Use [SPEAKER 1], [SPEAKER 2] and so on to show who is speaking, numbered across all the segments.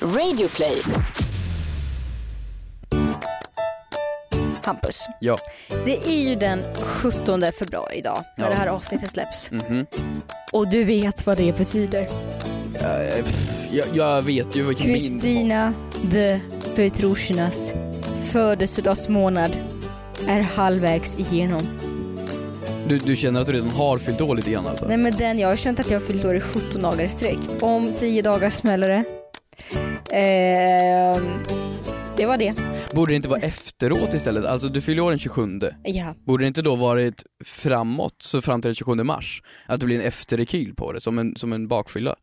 [SPEAKER 1] Radioplay. Hampus,
[SPEAKER 2] Ja.
[SPEAKER 1] det är ju den 17 februari idag när
[SPEAKER 2] Ja.
[SPEAKER 1] det här avsnittet släpps. Och du vet vad det betyder.
[SPEAKER 2] Eh, pff, Jag, jag vet ju vilken min...
[SPEAKER 1] Kristina the Petrosinas födelsedagsmånad är halvvägs igenom.
[SPEAKER 2] Du, du känner att du redan har fyllt år lite grann alltså?
[SPEAKER 1] Nej men den, jag har känt att jag har fyllt år i 17 dagar i sträck. Om 10 dagar smäller det. Ehm, det var det.
[SPEAKER 2] Borde det inte vara efteråt istället? Alltså du fyller ju år den 27.
[SPEAKER 1] Ja.
[SPEAKER 2] Borde det inte då varit framåt, så fram till den 27 mars? Att det blir en efterrekyl på det, som en, som en bakfylla?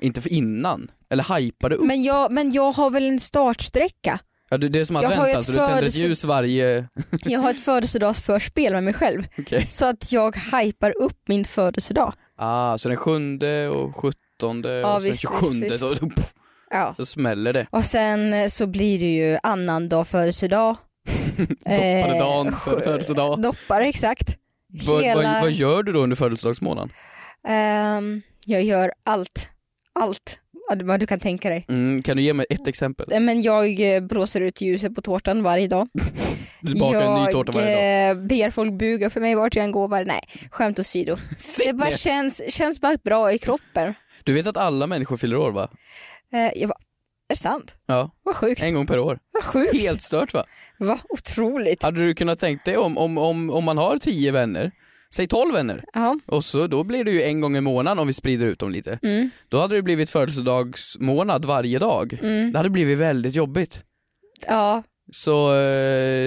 [SPEAKER 2] Inte för innan? Eller hypa det upp?
[SPEAKER 1] Men jag, men jag har väl en startsträcka.
[SPEAKER 2] ja, det, det är som
[SPEAKER 1] jag har ju
[SPEAKER 2] advent
[SPEAKER 1] ett
[SPEAKER 2] alltså, du tänder ett
[SPEAKER 1] födelse-
[SPEAKER 2] ljus varje...
[SPEAKER 1] Jag har ett födelsedagsförspel med mig själv.
[SPEAKER 2] Okej.
[SPEAKER 1] Så att jag hypar upp min födelsedag.
[SPEAKER 2] Ah, så den 7 och 17
[SPEAKER 1] Ja,
[SPEAKER 2] och sen
[SPEAKER 1] visst,
[SPEAKER 2] 27
[SPEAKER 1] visst,
[SPEAKER 2] Så, pff,
[SPEAKER 1] Ja.
[SPEAKER 2] så smäller det.
[SPEAKER 1] Och sen eh, så blir det ju annan dag födelsedag.
[SPEAKER 2] Doppade dagen,
[SPEAKER 1] Eh,
[SPEAKER 2] för- födelsedag.
[SPEAKER 1] Doppare, exakt.
[SPEAKER 2] Vad-
[SPEAKER 1] Hela-
[SPEAKER 2] Vad, vad gör du då under födelsedagsmånaden?
[SPEAKER 1] Ehm, jag gör allt. Allt. Ja, det- Vad du kan tänka dig.
[SPEAKER 2] Mm, kan du ge mig ett exempel?
[SPEAKER 1] Nej, Men jag eh, blåser ut ljuset på tårtan varje dag.
[SPEAKER 2] Du bakar
[SPEAKER 1] jag
[SPEAKER 2] en ny tårta varje dag.
[SPEAKER 1] eh, ber folk buga för mig vart jag än går. Varje... Nej, skämt åsido.
[SPEAKER 2] Sitt
[SPEAKER 1] Det bara
[SPEAKER 2] ner.
[SPEAKER 1] känns, känns bara bra i kroppen.
[SPEAKER 2] Du vet att alla människor fyller år va?
[SPEAKER 1] Eh, jag bara, är det sant?
[SPEAKER 2] Ja,
[SPEAKER 1] Vad sjukt.
[SPEAKER 2] en gång per år.
[SPEAKER 1] Vad sjukt.
[SPEAKER 2] Helt stört va?
[SPEAKER 1] Vad otroligt.
[SPEAKER 2] Hade du kunnat tänkt dig om, om, om, om man har tio vänner, säg tolv vänner,
[SPEAKER 1] Ja.
[SPEAKER 2] och så då blir det ju en gång i månaden om vi sprider ut dem lite.
[SPEAKER 1] Mm.
[SPEAKER 2] Då hade det blivit födelsedagsmånad varje dag.
[SPEAKER 1] Mm.
[SPEAKER 2] Det hade blivit väldigt jobbigt.
[SPEAKER 1] ja.
[SPEAKER 2] Så eh,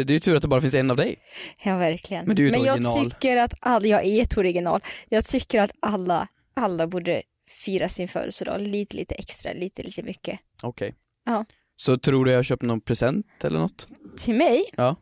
[SPEAKER 2] det är ju tur att det bara finns en av dig.
[SPEAKER 1] Ja, verkligen.
[SPEAKER 2] Men du är ju ett
[SPEAKER 1] jag
[SPEAKER 2] original.
[SPEAKER 1] tycker att alla, jag är ett original. Jag tycker att alla, alla borde fira sin födelsedag lite, lite extra, lite, lite mycket.
[SPEAKER 2] Okej.
[SPEAKER 1] Ja.
[SPEAKER 2] Så tror du jag har köpt någon present eller något?
[SPEAKER 1] Till mig?
[SPEAKER 2] Ja.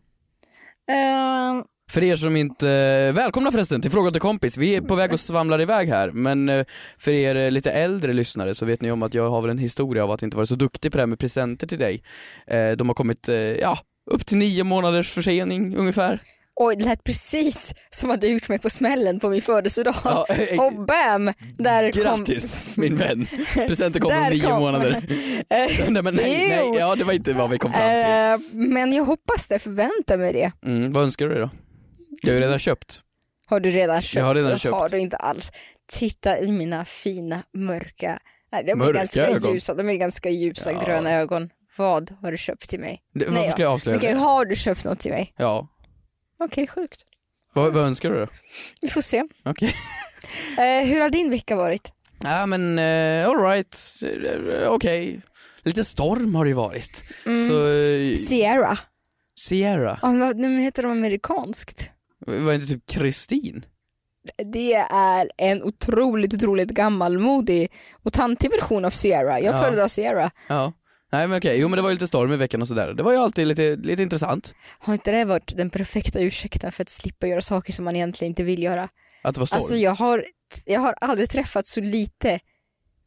[SPEAKER 1] Ehm,
[SPEAKER 2] För er som inte, eh, välkomna förresten till Fråga till kompis. Vi är på väg att svamla iväg här men eh, för er eh, lite äldre lyssnare så vet ni om att jag har väl en historia av att inte vara så duktig på det här med presenter till dig. Eh, De har kommit, eh, ja, upp till nio månaders försening ungefär.
[SPEAKER 1] oj, det lät precis som att du gjort mig på smällen på min födelsedag.
[SPEAKER 2] Ja, eh,
[SPEAKER 1] Och bam! Där
[SPEAKER 2] Grattis min vän, presenten kommer
[SPEAKER 1] Där
[SPEAKER 2] om nio
[SPEAKER 1] kom-
[SPEAKER 2] månader.
[SPEAKER 1] kom... Eh,
[SPEAKER 2] Nej men nej, nej,
[SPEAKER 1] Jo.
[SPEAKER 2] ja det var inte vad vi kom fram till.
[SPEAKER 1] eh, men jag hoppas det, förväntar mig det.
[SPEAKER 2] Mm, vad önskar du dig då? Jag har ju redan köpt.
[SPEAKER 1] Har du redan köpt?
[SPEAKER 2] har redan
[SPEAKER 1] Det
[SPEAKER 2] köpt.
[SPEAKER 1] Har du inte alls. Titta i mina fina mörka, nej de är
[SPEAKER 2] Mörka
[SPEAKER 1] ganska
[SPEAKER 2] ögon.
[SPEAKER 1] ljusa, de är ganska ljusa
[SPEAKER 2] Ja.
[SPEAKER 1] gröna ögon. Vad har du köpt till mig?
[SPEAKER 2] Det-
[SPEAKER 1] Nej,
[SPEAKER 2] Varför
[SPEAKER 1] ja.
[SPEAKER 2] skulle jag avslöja
[SPEAKER 1] Okej,
[SPEAKER 2] det?
[SPEAKER 1] har du köpt något till mig?
[SPEAKER 2] Ja,
[SPEAKER 1] Okej, sjukt.
[SPEAKER 2] vad, vad önskar du då?
[SPEAKER 1] Vi får se.
[SPEAKER 2] Okej.
[SPEAKER 1] Eh, hur har din vecka varit?
[SPEAKER 2] Ja men eh, alright, okej. Lite storm har det ju varit.
[SPEAKER 1] Mm.
[SPEAKER 2] Så, eh,
[SPEAKER 1] Sierra.
[SPEAKER 2] Sierra,
[SPEAKER 1] Ja, men vad- nu heter de amerikanskt.
[SPEAKER 2] var inte typ Kristin?
[SPEAKER 1] Det är en otroligt, otroligt gammalmodig och tantig version av Sierra. Jag
[SPEAKER 2] Ja.
[SPEAKER 1] föredrar Sierra.
[SPEAKER 2] Ja. Nej men okej, jo men det var ju lite storm i veckan och sådär. Det var ju alltid lite, lite intressant
[SPEAKER 1] Har inte det varit den perfekta ursäkten för att slippa göra saker som man egentligen inte vill göra?
[SPEAKER 2] att det var storm.
[SPEAKER 1] Alltså jag har, jag har aldrig träffat så lite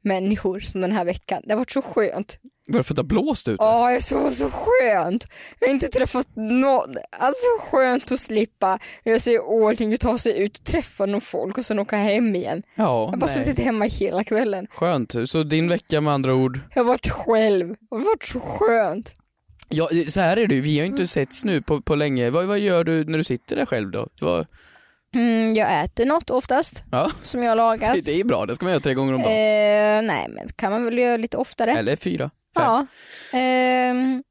[SPEAKER 1] människor som den här veckan. Det har varit så skönt.
[SPEAKER 2] Varför det har blåst ute?
[SPEAKER 1] Ja, det var så skönt. Jag har inte träffat någon. Alltså skönt att slippa göra sig i ordning och ta sig ut och träffa någon folk och sen åka hem igen.
[SPEAKER 2] Ja,
[SPEAKER 1] Jag har bara
[SPEAKER 2] nej.
[SPEAKER 1] suttit hemma hela kvällen.
[SPEAKER 2] Skönt, så din vecka med andra ord.
[SPEAKER 1] Jag har varit själv. Det har varit så skönt.
[SPEAKER 2] Ja, så här är det ju, vi har ju inte setts nu på, på länge. Vad, vad gör du när du sitter där själv då? Vad,
[SPEAKER 1] Mm, jag äter något oftast
[SPEAKER 2] ja,
[SPEAKER 1] som jag har lagat.
[SPEAKER 2] det, det är bra, det ska man göra tre gånger om dagen.
[SPEAKER 1] Eh, nej men kan man väl göra lite oftare.
[SPEAKER 2] Eller fyra. fem.
[SPEAKER 1] Ja. Ehm,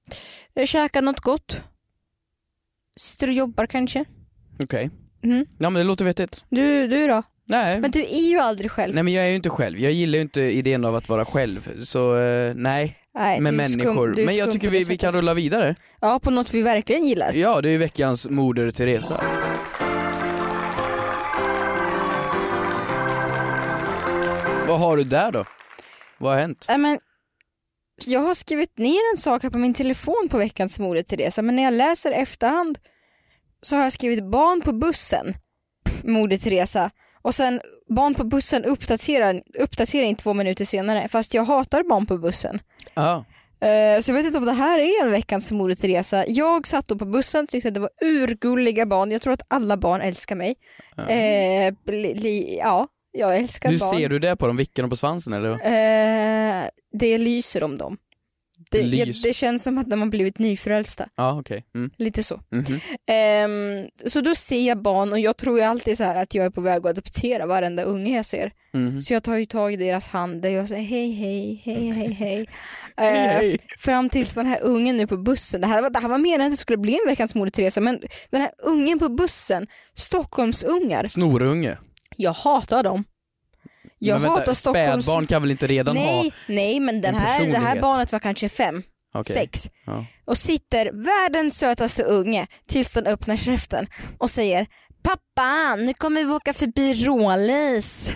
[SPEAKER 1] käka något gott. Sitter och jobbar kanske.
[SPEAKER 2] Okej.
[SPEAKER 1] Mm.
[SPEAKER 2] Ja men det låter vettigt.
[SPEAKER 1] Du, du då?
[SPEAKER 2] Nej.
[SPEAKER 1] Men du är ju aldrig själv.
[SPEAKER 2] Nej men jag är ju inte själv, jag gillar ju inte idén av att vara själv. Så eh, nej,
[SPEAKER 1] Nej,
[SPEAKER 2] med
[SPEAKER 1] du är skum-
[SPEAKER 2] människor.
[SPEAKER 1] du är
[SPEAKER 2] men jag
[SPEAKER 1] skum
[SPEAKER 2] tycker
[SPEAKER 1] på
[SPEAKER 2] vi,
[SPEAKER 1] det
[SPEAKER 2] vi
[SPEAKER 1] sättet.
[SPEAKER 2] kan Mm. rulla vidare.
[SPEAKER 1] Ja, på något vi verkligen gillar.
[SPEAKER 2] Ja, det är ju veckans Moder Teresa. Vad har du där då? Vad har hänt?
[SPEAKER 1] Nej, men, jag har skrivit ner en sak här på min telefon på veckans mode Teresa, men när jag läser efterhand så har jag skrivit barn på bussen, mode Teresa. Och sen barn på bussen uppdatering, uppdatering två minuter senare, fast jag hatar barn på bussen.
[SPEAKER 2] Ja,
[SPEAKER 1] Eh, Så jag vet inte om det här är en veckans Moder Teresa. Jag satt då på bussen och tyckte att det var urgulliga barn. Jag tror att alla barn älskar mig.
[SPEAKER 2] Ja.
[SPEAKER 1] Eh, bli, li, ja, jag älskar
[SPEAKER 2] hur
[SPEAKER 1] barn.
[SPEAKER 2] ser du det på dem? Vicken och på svansen eller?
[SPEAKER 1] Eh, det lyser om dem. Det, jag,
[SPEAKER 2] Lys.
[SPEAKER 1] det känns som att de har blivit nyfrälsta.
[SPEAKER 2] Ja, okej. Mm.
[SPEAKER 1] Lite så.
[SPEAKER 2] Mhm.
[SPEAKER 1] Ehm, så då ser jag barn och jag tror ju alltid så här att jag är på väg att adoptera varenda unge jag ser.
[SPEAKER 2] Mhm.
[SPEAKER 1] Så jag tar ju tag i deras händer och säger hej hej, hej hej hej. Ehm, fram tills den här ungen nu på bussen, det här var, det här var meningen att det skulle bli en veckans Moder Teresa men den här ungen på bussen, Stockholmsungar,
[SPEAKER 2] Snorunge.
[SPEAKER 1] jag hatar dem. Jag
[SPEAKER 2] Men vänta,
[SPEAKER 1] hatar Stockholms...
[SPEAKER 2] Spädbarn kan väl inte redan
[SPEAKER 1] nej, nej men den
[SPEAKER 2] en
[SPEAKER 1] här, det här
[SPEAKER 2] personlighet.
[SPEAKER 1] barnet var kanske fem,
[SPEAKER 2] ha... Okej.
[SPEAKER 1] sex
[SPEAKER 2] Ja.
[SPEAKER 1] och sitter världens sötaste unge tills den öppnar käften och säger Pappa, nu kommer vi åka förbi Rålis.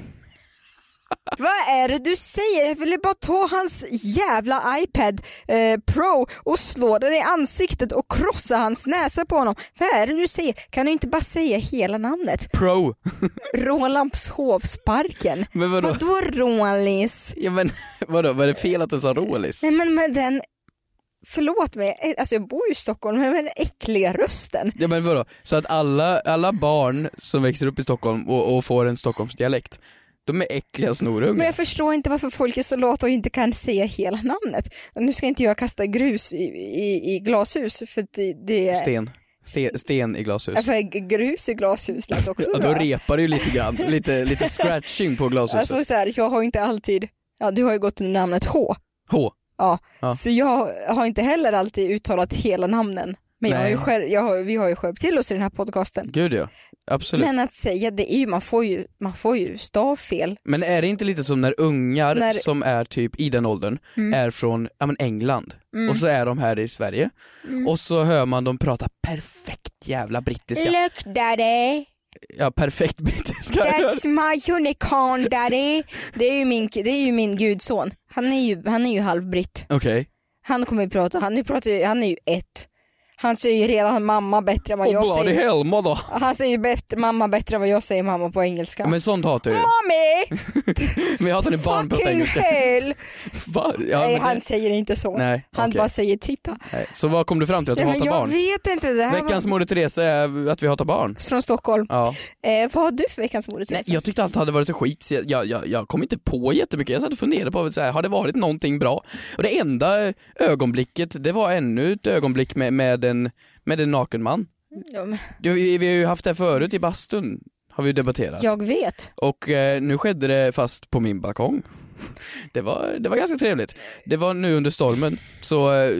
[SPEAKER 1] Vad är det du säger? Jag ville bara ta hans jävla iPad eh, Pro och slå den i ansiktet och krossa hans näsa på honom. Vad är det du säger? Kan du inte bara säga hela namnet?
[SPEAKER 2] Pro.
[SPEAKER 1] Rålampshovsparken.
[SPEAKER 2] Men vadå?
[SPEAKER 1] Vadå Rålis?
[SPEAKER 2] Ja, men, vadå? Var det fel att den sa Rålis?
[SPEAKER 1] Nej men med den, förlåt mig, alltså jag bor ju i Stockholm, men med den äckliga rösten.
[SPEAKER 2] Ja, men vadå? Så att alla, alla barn som växer upp i Stockholm och, och får en Stockholmsdialekt, de är äckliga
[SPEAKER 1] Men
[SPEAKER 2] snorungar.
[SPEAKER 1] jag förstår inte varför folk är så lata och inte kan säga hela namnet. Nu ska inte jag kasta grus i, i, i glashus för att det, det är...
[SPEAKER 2] Sten. Ste, sten i glashus.
[SPEAKER 1] Ja, för g- grus i glashus lät också
[SPEAKER 2] Ja, då
[SPEAKER 1] bra.
[SPEAKER 2] repar det ju lite grann, lite, lite scratching på glashuset.
[SPEAKER 1] Alltså så här, jag har inte alltid, ja du har ju gått under namnet H,
[SPEAKER 2] H. Ja.
[SPEAKER 1] så jag har inte heller alltid uttalat hela namnen. Men jag har ju
[SPEAKER 2] Nej.
[SPEAKER 1] skär, jag har, vi har ju skärpt till oss i den här podcasten.
[SPEAKER 2] Gud ja, absolut. Men,
[SPEAKER 1] Men att säga det är ju, man får ju, man får ju stavfel.
[SPEAKER 2] är det inte lite som när ungar
[SPEAKER 1] När-
[SPEAKER 2] som är typ i den åldern
[SPEAKER 1] Mm.
[SPEAKER 2] är från ja, men England och så är de här i Sverige
[SPEAKER 1] Mm.
[SPEAKER 2] och så hör man dem prata perfekt jävla brittiska.
[SPEAKER 1] Look daddy,
[SPEAKER 2] Ja, perfekt brittiska.
[SPEAKER 1] that's my unicorn daddy. Det är ju min, det är ju min gudson. Han är ju, han är ju halvbritt.
[SPEAKER 2] Okej,
[SPEAKER 1] Han kommer ju prata, han, nu pratar, ju- han är ju ett. Han säger ju redan mamma bättre än vad
[SPEAKER 2] och
[SPEAKER 1] jag
[SPEAKER 2] bloody
[SPEAKER 1] säger.
[SPEAKER 2] hell mother.
[SPEAKER 1] Han säger ju bättre, mamma bättre än vad jag säger mamma på engelska.
[SPEAKER 2] Men sånt hatar jag ju.
[SPEAKER 1] Mommy!
[SPEAKER 2] Men jag hatar när barn
[SPEAKER 1] Ah,
[SPEAKER 2] pratar
[SPEAKER 1] Fucking
[SPEAKER 2] engelska.
[SPEAKER 1] hell!
[SPEAKER 2] Va? Ja,
[SPEAKER 1] Nej
[SPEAKER 2] men-
[SPEAKER 1] han säger inte så.
[SPEAKER 2] Nej,
[SPEAKER 1] Han
[SPEAKER 2] okej.
[SPEAKER 1] bara säger titta.
[SPEAKER 2] Nej. Så vad kom du fram till? Att du
[SPEAKER 1] Nej, men
[SPEAKER 2] hatar
[SPEAKER 1] jag
[SPEAKER 2] barn?
[SPEAKER 1] vet inte, det här
[SPEAKER 2] Veckans Moder Teresa är att vi hatar barn.
[SPEAKER 1] var från Stockholm.
[SPEAKER 2] Ja.
[SPEAKER 1] Eh, vad har du för veckans moder
[SPEAKER 2] Nej,
[SPEAKER 1] Therese?
[SPEAKER 2] jag tyckte allt hade varit så skit så jag, jag, jag, jag kom inte på jättemycket. Jag satt och funderade på, så här, har det varit någonting bra? Och det enda ögonblicket, det var ännu ett ögonblick med, med, en, med en naken man.
[SPEAKER 1] Ja, men
[SPEAKER 2] Du, Vi, vi har ju haft det här förut i bastun, har vi ju debatterat.
[SPEAKER 1] Jag vet.
[SPEAKER 2] Och eh, nu skedde det fast på min balkong. Det var, det var ganska trevligt. Det var nu under stormen, så eh,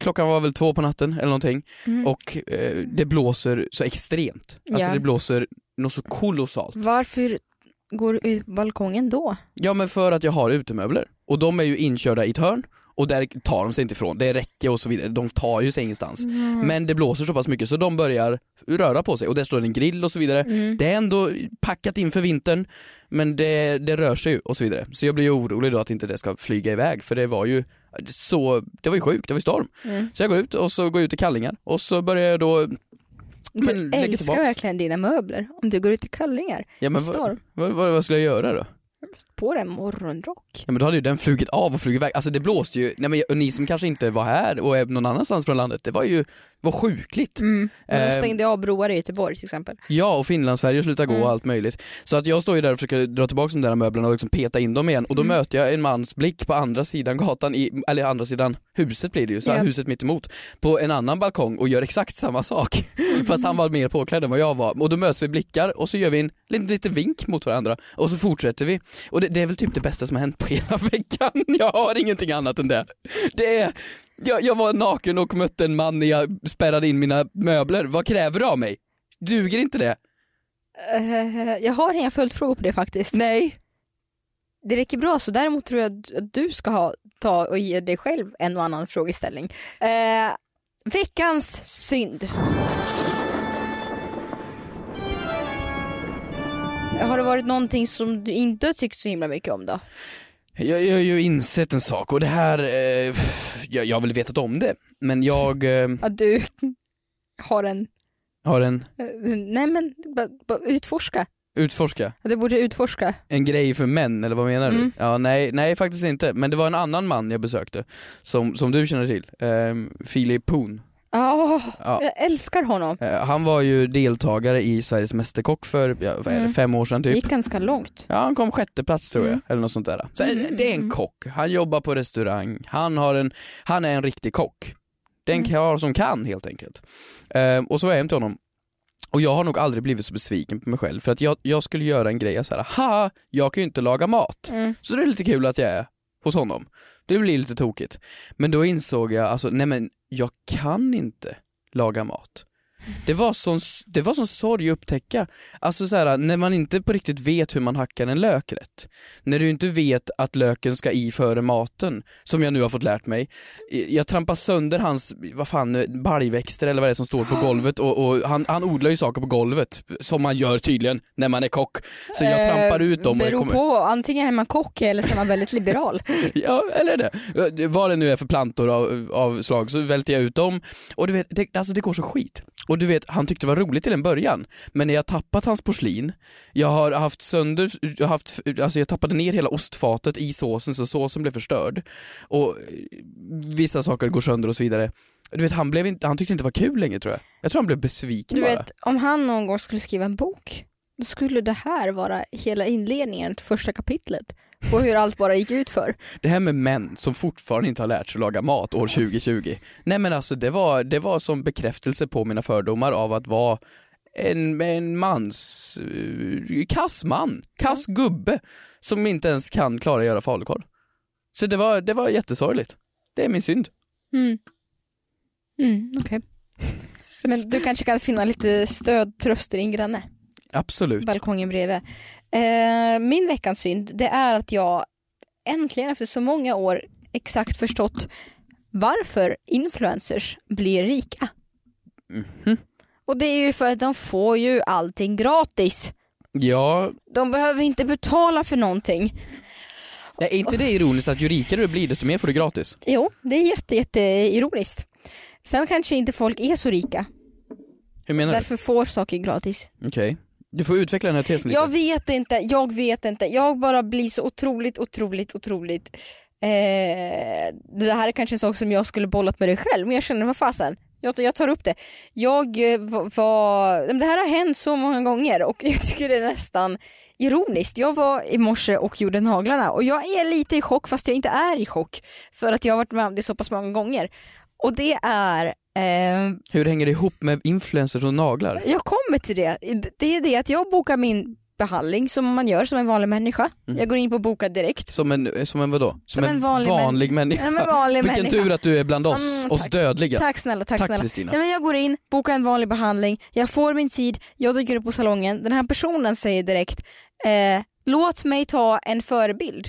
[SPEAKER 2] klockan var väl två på natten eller någonting
[SPEAKER 1] Mm.
[SPEAKER 2] och eh, det blåser så extremt. Alltså
[SPEAKER 1] Ja.
[SPEAKER 2] det blåser något så kolossalt.
[SPEAKER 1] Varför går du ut på balkongen då?
[SPEAKER 2] Ja men för att jag har utemöbler och de är ju inkörda i ett hörn och där tar de sig inte ifrån. Det är räcke och så vidare, de tar ju sig ingenstans.
[SPEAKER 1] Mm.
[SPEAKER 2] Men det blåser så pass mycket så de börjar röra på sig och där står en grill och så vidare.
[SPEAKER 1] Mm.
[SPEAKER 2] Det är ändå packat in för vintern men det, det rör sig ju och så vidare. Så jag blir ju orolig då att inte det ska flyga iväg för det var ju så, det var ju sjukt, det var ju storm.
[SPEAKER 1] Mm.
[SPEAKER 2] Så jag går ut och så går jag ut i kallingar och så börjar jag då
[SPEAKER 1] Du
[SPEAKER 2] Men lägg
[SPEAKER 1] älskar
[SPEAKER 2] tillbaks.
[SPEAKER 1] verkligen dina möbler. Om du går ut i kallingar,
[SPEAKER 2] Ja men vad,
[SPEAKER 1] storm,
[SPEAKER 2] vad, vad, vad skulle jag göra då?
[SPEAKER 1] på dig en morgonrock.
[SPEAKER 2] Ja men då hade ju den flugit av och flugit iväg. Alltså det blåste ju, nej men och ni som kanske inte var här och är någon annanstans från landet, det var ju, var sjukligt.
[SPEAKER 1] Men de
[SPEAKER 2] Eh,
[SPEAKER 1] stängde av broar i Göteborg till exempel.
[SPEAKER 2] Ja och Finland-Sverige slutade gå
[SPEAKER 1] Mm.
[SPEAKER 2] och allt möjligt. Så att jag står ju där och försöker dra tillbaka de där möblerna och liksom peta in dem igen och
[SPEAKER 1] Mm.
[SPEAKER 2] då möter jag en mans blick på andra sidan gatan, i, eller andra sidan huset blir det ju, så här,
[SPEAKER 1] Ja.
[SPEAKER 2] huset mitt emot på en annan balkong och gör exakt samma sak. Fast han var mer påklädd än vad jag var. Och då möts vi i blickar och så gör vi en liten, liten vink mot varandra och så fortsätter vi. Och det, det är väl typ det bästa som har hänt på hela veckan. Jag har ingenting annat än det. Det är, jag, jag var naken och mötte en man när jag spärrade in mina möbler. Vad kräver du av mig? Duger inte det?
[SPEAKER 1] Eh, jag har inga följdfrågor på det faktiskt.
[SPEAKER 2] Nej.
[SPEAKER 1] Det räcker bra så däremot tror jag att- att du ska ha, ta och ge dig själv en och annan frågeställning. Eh, veckans synd. Har det varit någonting som du inte har tyckt så himla mycket om då?
[SPEAKER 2] Jag, jag har ju insett en sak och det här, eh, jag, jag har väl vetat om det, men jag eh,
[SPEAKER 1] Att du har en,
[SPEAKER 2] har en,
[SPEAKER 1] eh, nej men bara- bara utforska.
[SPEAKER 2] utforska,
[SPEAKER 1] Att du borde utforska.
[SPEAKER 2] en grej för män eller vad menar du?
[SPEAKER 1] Mm.
[SPEAKER 2] Ja, nej, nej faktiskt inte, men det var en annan man jag besökte som, som du känner till, eh, ehm, Philip Poon.
[SPEAKER 1] Åh,
[SPEAKER 2] Ja.
[SPEAKER 1] Jag älskar honom.
[SPEAKER 2] Eh, Han var ju deltagare i Sveriges Mästerkock för ja, vad är det,
[SPEAKER 1] Mm.
[SPEAKER 2] fem år sedan
[SPEAKER 1] Det
[SPEAKER 2] typ.
[SPEAKER 1] gick ganska långt.
[SPEAKER 2] Ja, han kom sjätte plats tror jag,
[SPEAKER 1] Mm.
[SPEAKER 2] eller något sånt där. Så, eh,
[SPEAKER 1] Mm.
[SPEAKER 2] Det är en kock, han jobbar på restaurang, han, har en, han är en riktig kock. Den
[SPEAKER 1] Mm.
[SPEAKER 2] karl som kan helt enkelt. Ehm, och så var jag hem till honom. Och jag har nog aldrig blivit så besviken på mig själv för att jag, jag skulle göra en grej, jag så här, ha, jag kan ju inte laga mat.
[SPEAKER 1] Mm.
[SPEAKER 2] Så det är lite kul att jag är hos honom. Det blir lite tokigt. Men då insåg jag, alltså nej men jag kan inte laga mat. Det var sån, det var sån sorg att upptäcka. Alltså så här, när man inte på riktigt vet hur man hackar en lök rätt. När du inte vet att löken ska i före maten, som jag nu har fått lärt mig. Jag trampar sönder hans, vad fan, nu, baljväxter eller vad det är som står på golvet och, och han, han odlar ju saker på golvet, som man gör tydligen när man är kock. Så jag trampar ut dem. och det
[SPEAKER 1] Eh, Beror
[SPEAKER 2] kommer-
[SPEAKER 1] på, antingen är man kock eller så är man väldigt liberal.
[SPEAKER 2] Ja, eller det. Vad det nu är för plantor av, av slag så välter jag ut dem. Och du vet, det, alltså det går så skit. Och du vet, han tyckte det var roligt till en början. Men när jag tappat hans porslin, jag har haft sönder, jag, har haft, alltså jag tappade ner hela ostfatet i såsen så såsen blev förstörd. Och eh, vissa saker går sönder och så vidare. Du vet, han, blev inte, han tyckte inte det var kul längre tror jag. Jag tror han blev besviken
[SPEAKER 1] Du
[SPEAKER 2] bara.
[SPEAKER 1] vet, om han någon gång skulle skriva en bok, då skulle det här vara hela inledningen, första kapitlet på hur allt bara gick ut för.
[SPEAKER 2] Det här med män som fortfarande inte har lärt sig att laga mat år 2020. Nej men alltså det var, det var som bekräftelse på mina fördomar av att vara en, en mans... Uh, kass man, kass gubbe som inte ens kan klara att göra falukorv. Så det var, det var jättesorgligt. Det är min synd.
[SPEAKER 1] Mm. Mm, okej. Men du kanske kan finna lite stöd, tröst i din granne,
[SPEAKER 2] Absolut.
[SPEAKER 1] balkongen bredvid. Eh, min veckans synd, det är att jag äntligen efter så många år exakt förstått varför influencers blir rika.
[SPEAKER 2] Mhm.
[SPEAKER 1] Och det är ju för att de får ju allting gratis.
[SPEAKER 2] Ja,
[SPEAKER 1] De behöver inte betala för någonting.
[SPEAKER 2] nej, är inte det ironiskt att ju rikare du blir desto mer får du gratis?
[SPEAKER 1] Jo, det är jätte, jätte ironiskt. Sen kanske inte folk är så rika,
[SPEAKER 2] Hur menar du?
[SPEAKER 1] därför får saker gratis.
[SPEAKER 2] Okej. Du får utveckla den här tesen lite.
[SPEAKER 1] Jag vet inte, jag vet inte. Jag bara blir så otroligt, otroligt, otroligt... Eh, det här är kanske en sak som jag skulle bollat med dig själv, men jag känner vad fasen. Jag, jag tar upp det. Jag eh, va- var... nej, men Det här har hänt så många gånger och jag tycker det är nästan ironiskt. Jag var i morse och gjorde naglarna och jag är lite i chock fast jag inte är i chock för att jag har varit med om det så pass många gånger. Och det är eh,
[SPEAKER 2] Hur hänger det ihop med influencers och naglar?
[SPEAKER 1] jag kommer till det. Det är det att jag bokar min behandling som man gör som en vanlig människa.
[SPEAKER 2] Mm.
[SPEAKER 1] Jag går in på boka direkt.
[SPEAKER 2] Som en, eh, som en vadå? Som,
[SPEAKER 1] en vanlig män-
[SPEAKER 2] människa?
[SPEAKER 1] Nej, men vanlig
[SPEAKER 2] Vilken
[SPEAKER 1] människa.
[SPEAKER 2] tur att du är bland oss,
[SPEAKER 1] Mm,
[SPEAKER 2] oss
[SPEAKER 1] tack.
[SPEAKER 2] dödliga.
[SPEAKER 1] Tack snälla, tack,
[SPEAKER 2] Tack,
[SPEAKER 1] snälla.
[SPEAKER 2] Kristina.
[SPEAKER 1] Nej, men jag går in, bokar en vanlig behandling, jag får min tid, jag dyker upp på salongen. Den här personen säger direkt, eh, låt mig ta en förebild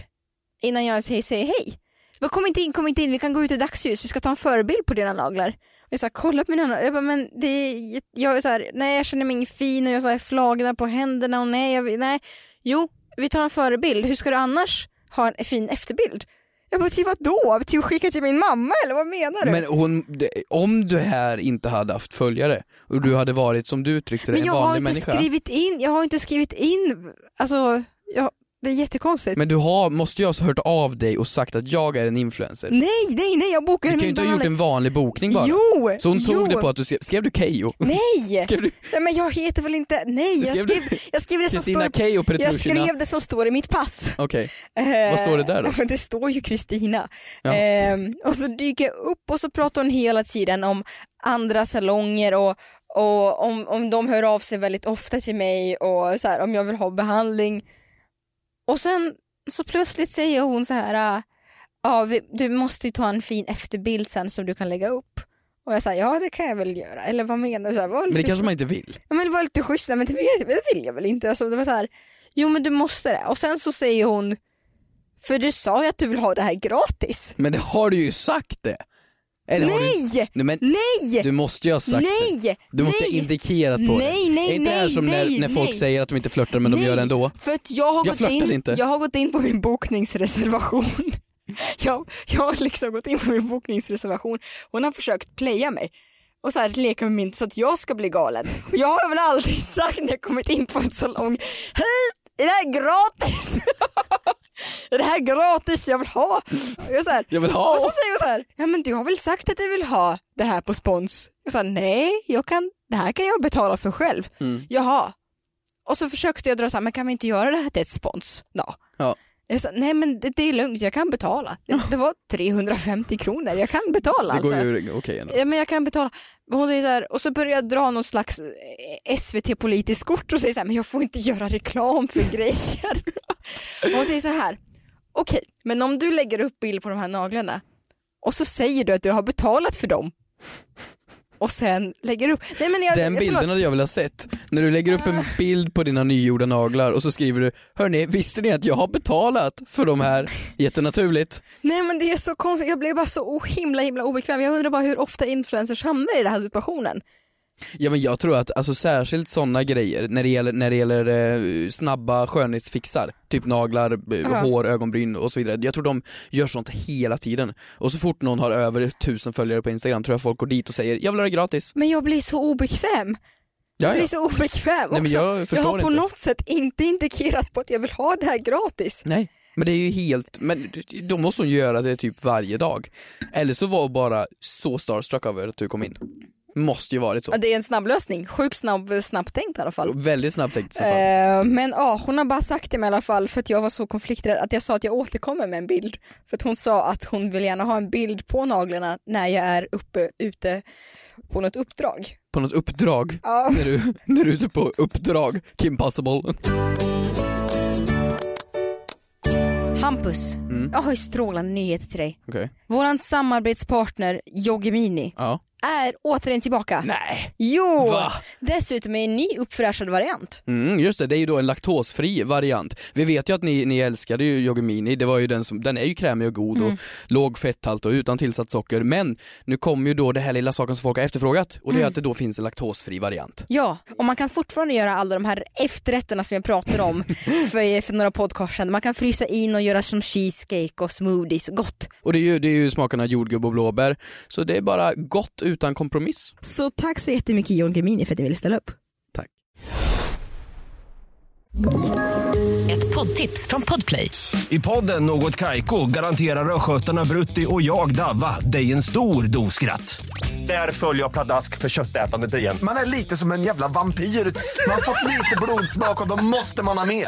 [SPEAKER 1] innan jag ens säger hej. Men kom inte in, kom inte in, vi kan gå ut i dagsljus, vi ska ta en förebild på dina naglar. Och jag sa kolla på mina naglar, jag bara, men det är, jätte- jag är så här, nej jag känner mig ingen fin och jag är så här flagna på händerna och nej, jag, vill- nej. Jo, vi tar en förebild, hur ska du annars ha en fin efterbild? Jag bara, till vad då? Till att skicka till min mamma eller vad menar du?
[SPEAKER 2] Men hon, det- om du här inte hade haft följare och du hade varit som du uttryckte det,
[SPEAKER 1] Men
[SPEAKER 2] en
[SPEAKER 1] jag har
[SPEAKER 2] vanlig
[SPEAKER 1] inte
[SPEAKER 2] människa.
[SPEAKER 1] skrivit in, jag har inte skrivit in, alltså jag, det är jättekonstigt.
[SPEAKER 2] Men du har, måste ju ha hört av dig och sagt att jag är en influencer.
[SPEAKER 1] nej, nej, nej, jag bokade
[SPEAKER 2] du kan ju
[SPEAKER 1] min
[SPEAKER 2] inte ha gjort
[SPEAKER 1] behandling.
[SPEAKER 2] en vanlig bokning bara.
[SPEAKER 1] Jo!
[SPEAKER 2] Så hon
[SPEAKER 1] jo.
[SPEAKER 2] tog det på att du skrev, skrev du Keijo?
[SPEAKER 1] Nej!
[SPEAKER 2] Skrev du
[SPEAKER 1] nej, men jag heter väl inte, nej, jag
[SPEAKER 2] Skrev du-
[SPEAKER 1] skrev, jag skrev det som
[SPEAKER 2] Kristina
[SPEAKER 1] står
[SPEAKER 2] Keijo
[SPEAKER 1] jag
[SPEAKER 2] Petrushina?
[SPEAKER 1] skrev det som står i mitt pass.
[SPEAKER 2] Okej,
[SPEAKER 1] Eh,
[SPEAKER 2] Vad står det där då?
[SPEAKER 1] men Det står ju Kristina.
[SPEAKER 2] Ja.
[SPEAKER 1] Eh, och så dyker jag upp och så pratar hon hela tiden om andra salonger och, och om, om de hör av sig väldigt ofta till mig och så här, om jag vill ha behandling. Och sen så plötsligt säger hon så här, ah, ja, vi, du måste ju ta en fin efterbild sen som du kan lägga upp. Och jag säger ja det kan jag väl göra, eller vad menar du? Så här, var
[SPEAKER 2] men det
[SPEAKER 1] lite-
[SPEAKER 2] kanske man inte vill.
[SPEAKER 1] Ja, men det var lite schysst, Nej, men det vill, det vill jag väl inte. Alltså, det var så här, jo men du måste det. Och sen så säger hon, för du sa ju att du vill ha det här gratis.
[SPEAKER 2] Men det har du ju sagt det! Eller har du,
[SPEAKER 1] Nej!
[SPEAKER 2] nej! Men
[SPEAKER 1] Nej!
[SPEAKER 2] du måste ju ha sagt det.
[SPEAKER 1] Nej!
[SPEAKER 2] Du måste ha
[SPEAKER 1] nej!
[SPEAKER 2] indikerat på det.
[SPEAKER 1] Nej, nej,
[SPEAKER 2] är inte det här
[SPEAKER 1] nej,
[SPEAKER 2] som
[SPEAKER 1] nej,
[SPEAKER 2] när, när folk
[SPEAKER 1] nej.
[SPEAKER 2] säger att de inte flörtar men de
[SPEAKER 1] Nej,
[SPEAKER 2] gör det ändå?
[SPEAKER 1] För att jag har,
[SPEAKER 2] Jag
[SPEAKER 1] gått in,
[SPEAKER 2] flörtade inte.
[SPEAKER 1] jag har gått in på min bokningsreservation. jag, jag har liksom gått in på min bokningsreservation. Hon har försökt playa mig och så här leka med min så att jag ska bli galen. Och jag har väl aldrig sagt när jag kommit in på en salong, hej, är det här gratis? Är det här gratis? Jag vill ha! Och jag så här,
[SPEAKER 2] Jag vill ha!
[SPEAKER 1] och så säger hon så här, ja men du har väl sagt att du vill ha det här på spons? Jag sa nej, jag kan, det här kan jag betala för själv.
[SPEAKER 2] Mm.
[SPEAKER 1] Jaha. Och så försökte jag dra så här, men kan vi inte göra det här till ett spons? Då?
[SPEAKER 2] Ja.
[SPEAKER 1] Jag sa, nej men det, det är lugnt, jag kan betala. Det, det var 350 kronor, jag kan betala.
[SPEAKER 2] Det går
[SPEAKER 1] alltså.
[SPEAKER 2] ju okej ändå.
[SPEAKER 1] Ja men jag kan betala. Men Hon säger så här, och så börjar jag dra någon slags eh, SVT-politiskt kort och säger så här, men jag får inte göra reklam för grejer. Och hon säger så här, okej, men om du lägger upp bild på de här naglarna och så säger du att du har betalat för dem och sen lägger du upp. Nej, men jag, jag-
[SPEAKER 2] Den
[SPEAKER 1] förlåt. Ah.
[SPEAKER 2] bilden hade jag velat sett. När du lägger upp en bild på dina nygjorda naglar och så skriver du Hörni, visste ni att jag har betalat för de här? Jättenaturligt.
[SPEAKER 1] Nej men det är så konstigt, jag blev bara så himla himla obekväm. Jag undrar bara hur ofta influencers hamnar i den här situationen.
[SPEAKER 2] Ja men jag tror att alltså, särskilt sådana grejer när det gäller, när det gäller eh, snabba skönhetsfixar, typ naglar, b-
[SPEAKER 1] Ja.
[SPEAKER 2] hår, ögonbryn och så vidare. Jag tror de gör sånt hela tiden. Och så fort någon har över tusen följare på Instagram tror jag folk går dit och säger jag vill ha det gratis.
[SPEAKER 1] Men jag blir så obekväm.
[SPEAKER 2] Ja,
[SPEAKER 1] Jag blir
[SPEAKER 2] ja.
[SPEAKER 1] så obekväm
[SPEAKER 2] Nej men
[SPEAKER 1] också.
[SPEAKER 2] jag
[SPEAKER 1] Jag
[SPEAKER 2] förstår
[SPEAKER 1] har på
[SPEAKER 2] inte.
[SPEAKER 1] något sätt inte indikerat på att jag vill ha det här gratis.
[SPEAKER 2] Nej, men det är ju helt, men då måste hon göra det typ varje dag. Eller så var hon bara så starstruck över att du kom in. Måste ju varit så.
[SPEAKER 1] Ja, Det är en snabblösning, sjukt snabb, snabbt tänkt i alla fall.
[SPEAKER 2] Väldigt snabbt tänkt som fan.
[SPEAKER 1] Eh, men ja, hon har bara sagt det mig i alla fall för att jag var så konflikträdd att jag sa att jag återkommer med en bild. För att hon sa att hon vill gärna ha en bild på naglarna när jag är uppe ute på något uppdrag.
[SPEAKER 2] På något uppdrag.
[SPEAKER 1] Ja.
[SPEAKER 2] När du, när du är ute på uppdrag, Kim Possible.
[SPEAKER 1] Hampus,
[SPEAKER 2] Mm.
[SPEAKER 1] jag har ju strålande nyheter till dig.
[SPEAKER 2] Okej.
[SPEAKER 1] Vår samarbetspartner Joggimini
[SPEAKER 2] Ja.
[SPEAKER 1] är återigen tillbaka.
[SPEAKER 2] Nej.
[SPEAKER 1] Jo,
[SPEAKER 2] Va?
[SPEAKER 1] dessutom är en ny uppfräschad variant.
[SPEAKER 2] Mm, just det, det är ju då en laktosfri variant. Vi vet ju att ni, ni älskade ju Yogimini, det var ju den, som, den är ju krämig och god
[SPEAKER 1] Mm.
[SPEAKER 2] och låg fetthalt och utan tillsatt socker. Men nu kommer ju då det här lilla saken som folk har efterfrågat och det
[SPEAKER 1] Mm.
[SPEAKER 2] är att det då finns en laktosfri variant.
[SPEAKER 1] Ja, och man kan fortfarande göra alla de här efterrätterna som jag pratade om för, för några podcast sedan. Man kan frysa in och göra som cheesecake och smoothies, gott.
[SPEAKER 2] Och det är ju, det är ju smakerna jordgubb och blåbär. Så det är bara gott utan kompromiss.
[SPEAKER 1] Så tack så jättemycket John Gemini för att ni ville ställa upp.
[SPEAKER 2] Tack.
[SPEAKER 3] Ett poddtips från Podplay.
[SPEAKER 4] I podden Något Kaiko garanterar östgötarna Brutti och jag, Davva, dig en stor dos skratt. Där följer jag pladask för köttätandet igen.
[SPEAKER 5] Man är lite som en jävla vampyr. Man har fått lite blodsmak och då måste man ha mer.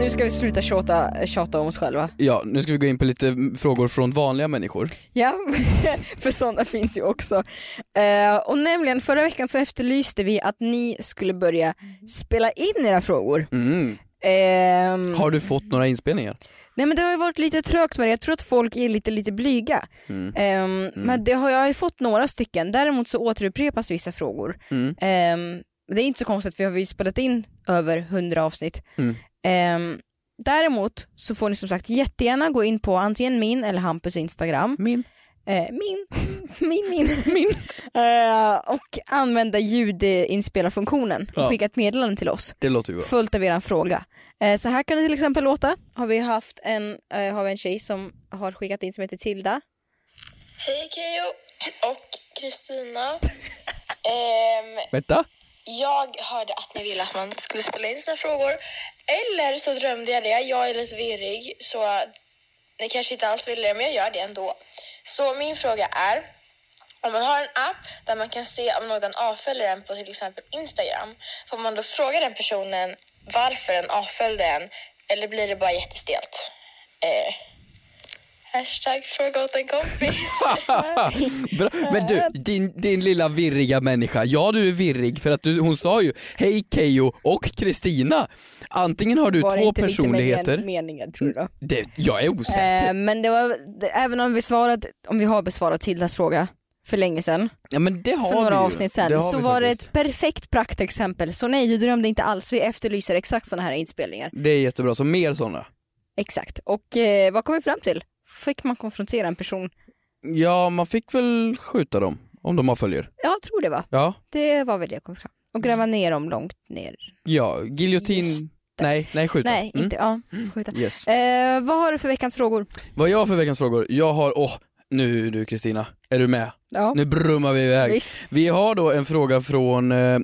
[SPEAKER 1] Nu ska vi sluta tjata, tjata om oss själva.
[SPEAKER 2] Ja, nu ska vi gå in på lite mm, frågor från vanliga människor.
[SPEAKER 1] Ja, för sådana finns ju också. Eh, och nämligen förra veckan så efterlyste vi att ni skulle börja spela in era frågor.
[SPEAKER 2] Mm.
[SPEAKER 1] Ehm,
[SPEAKER 2] Har du fått några inspelningar?
[SPEAKER 1] Nej men det har ju varit lite trögt med det, jag tror att folk är lite, lite blyga.
[SPEAKER 2] Mm.
[SPEAKER 1] Ehm, Men det har, jag har ju fått några stycken, däremot så återupprepas vissa frågor.
[SPEAKER 2] Mm.
[SPEAKER 1] Ehm, det är inte så konstigt för vi har ju spelat in över 100 avsnitt.
[SPEAKER 2] Mm.
[SPEAKER 1] Ehm, däremot så får ni som sagt jättegärna gå in på antingen min eller Hampus Instagram.
[SPEAKER 2] Min.
[SPEAKER 1] Eh, min, min, min, min. Eh, och använda ljudinspelarfunktionen och
[SPEAKER 2] Ja.
[SPEAKER 1] skicka ett meddelande till oss
[SPEAKER 2] Det låter ju bra.
[SPEAKER 1] fullt av er fråga. Eh, så här kan det till exempel låta. Har vi haft en, eh, har vi en tjej som har skickat in som heter Tilda.
[SPEAKER 6] Hej Keyyo och Kristina. Ehm,
[SPEAKER 2] Vänta.
[SPEAKER 6] jag hörde att ni ville att man skulle spela in sina frågor. Eller så drömde jag det. Jag är lite virrig så ni kanske inte alls vill det men jag gör det ändå. Så min fråga är om man har en app där man kan se om någon avföljer en på till exempel Instagram. Får man då fråga den personen varför den avföljde en eller blir det bara jättestelt? Eh, hashtag fråga åt en kompis.
[SPEAKER 2] Bra. Men du, din, din lilla virriga människa. Ja, du är virrig för att du, hon sa ju hej Kejo och Kristina. Antingen har du
[SPEAKER 1] Var det
[SPEAKER 2] två
[SPEAKER 1] inte riktigt
[SPEAKER 2] personligheter. Mm.
[SPEAKER 1] meningen- meningen tror jag.
[SPEAKER 2] Det, jag är osäker.
[SPEAKER 1] Eh, men det var, det, även om vi, svarat, om vi har besvarat Tildas fråga för länge sedan,
[SPEAKER 2] ja, men det har
[SPEAKER 1] för några
[SPEAKER 2] vi ju.
[SPEAKER 1] avsnitt
[SPEAKER 2] Det
[SPEAKER 1] sedan,
[SPEAKER 2] har
[SPEAKER 1] så
[SPEAKER 2] vi
[SPEAKER 1] var det
[SPEAKER 2] faktiskt.
[SPEAKER 1] ett perfekt praktexempel. Så nej, du drömde inte alls. Vi efterlyser exakt sådana här inspelningar.
[SPEAKER 2] Det är jättebra, så mer sådana.
[SPEAKER 1] Exakt. Och eh, vad kom vi fram till? Fick man konfrontera en person?
[SPEAKER 2] Ja, man fick väl skjuta dem om de har följer.
[SPEAKER 1] Ja, jag tror det va?
[SPEAKER 2] Ja, Mm.
[SPEAKER 1] Det var väl det jag kom fram Och gräva ner dem långt ner.
[SPEAKER 2] ja giljotin.
[SPEAKER 1] Just skjuter.
[SPEAKER 2] Nej, nej skjuta.
[SPEAKER 1] Nej,
[SPEAKER 2] Mm.
[SPEAKER 1] inte, ja, skjuta.
[SPEAKER 2] Yes.
[SPEAKER 1] Eh, vad har du för veckans frågor?
[SPEAKER 2] Vad jag har för veckans frågor? Jag har, åh, nu du Kristina, är du med?
[SPEAKER 1] Ja,
[SPEAKER 2] Nu brummar vi iväg.
[SPEAKER 1] visst.
[SPEAKER 2] Vi har då en fråga från eh,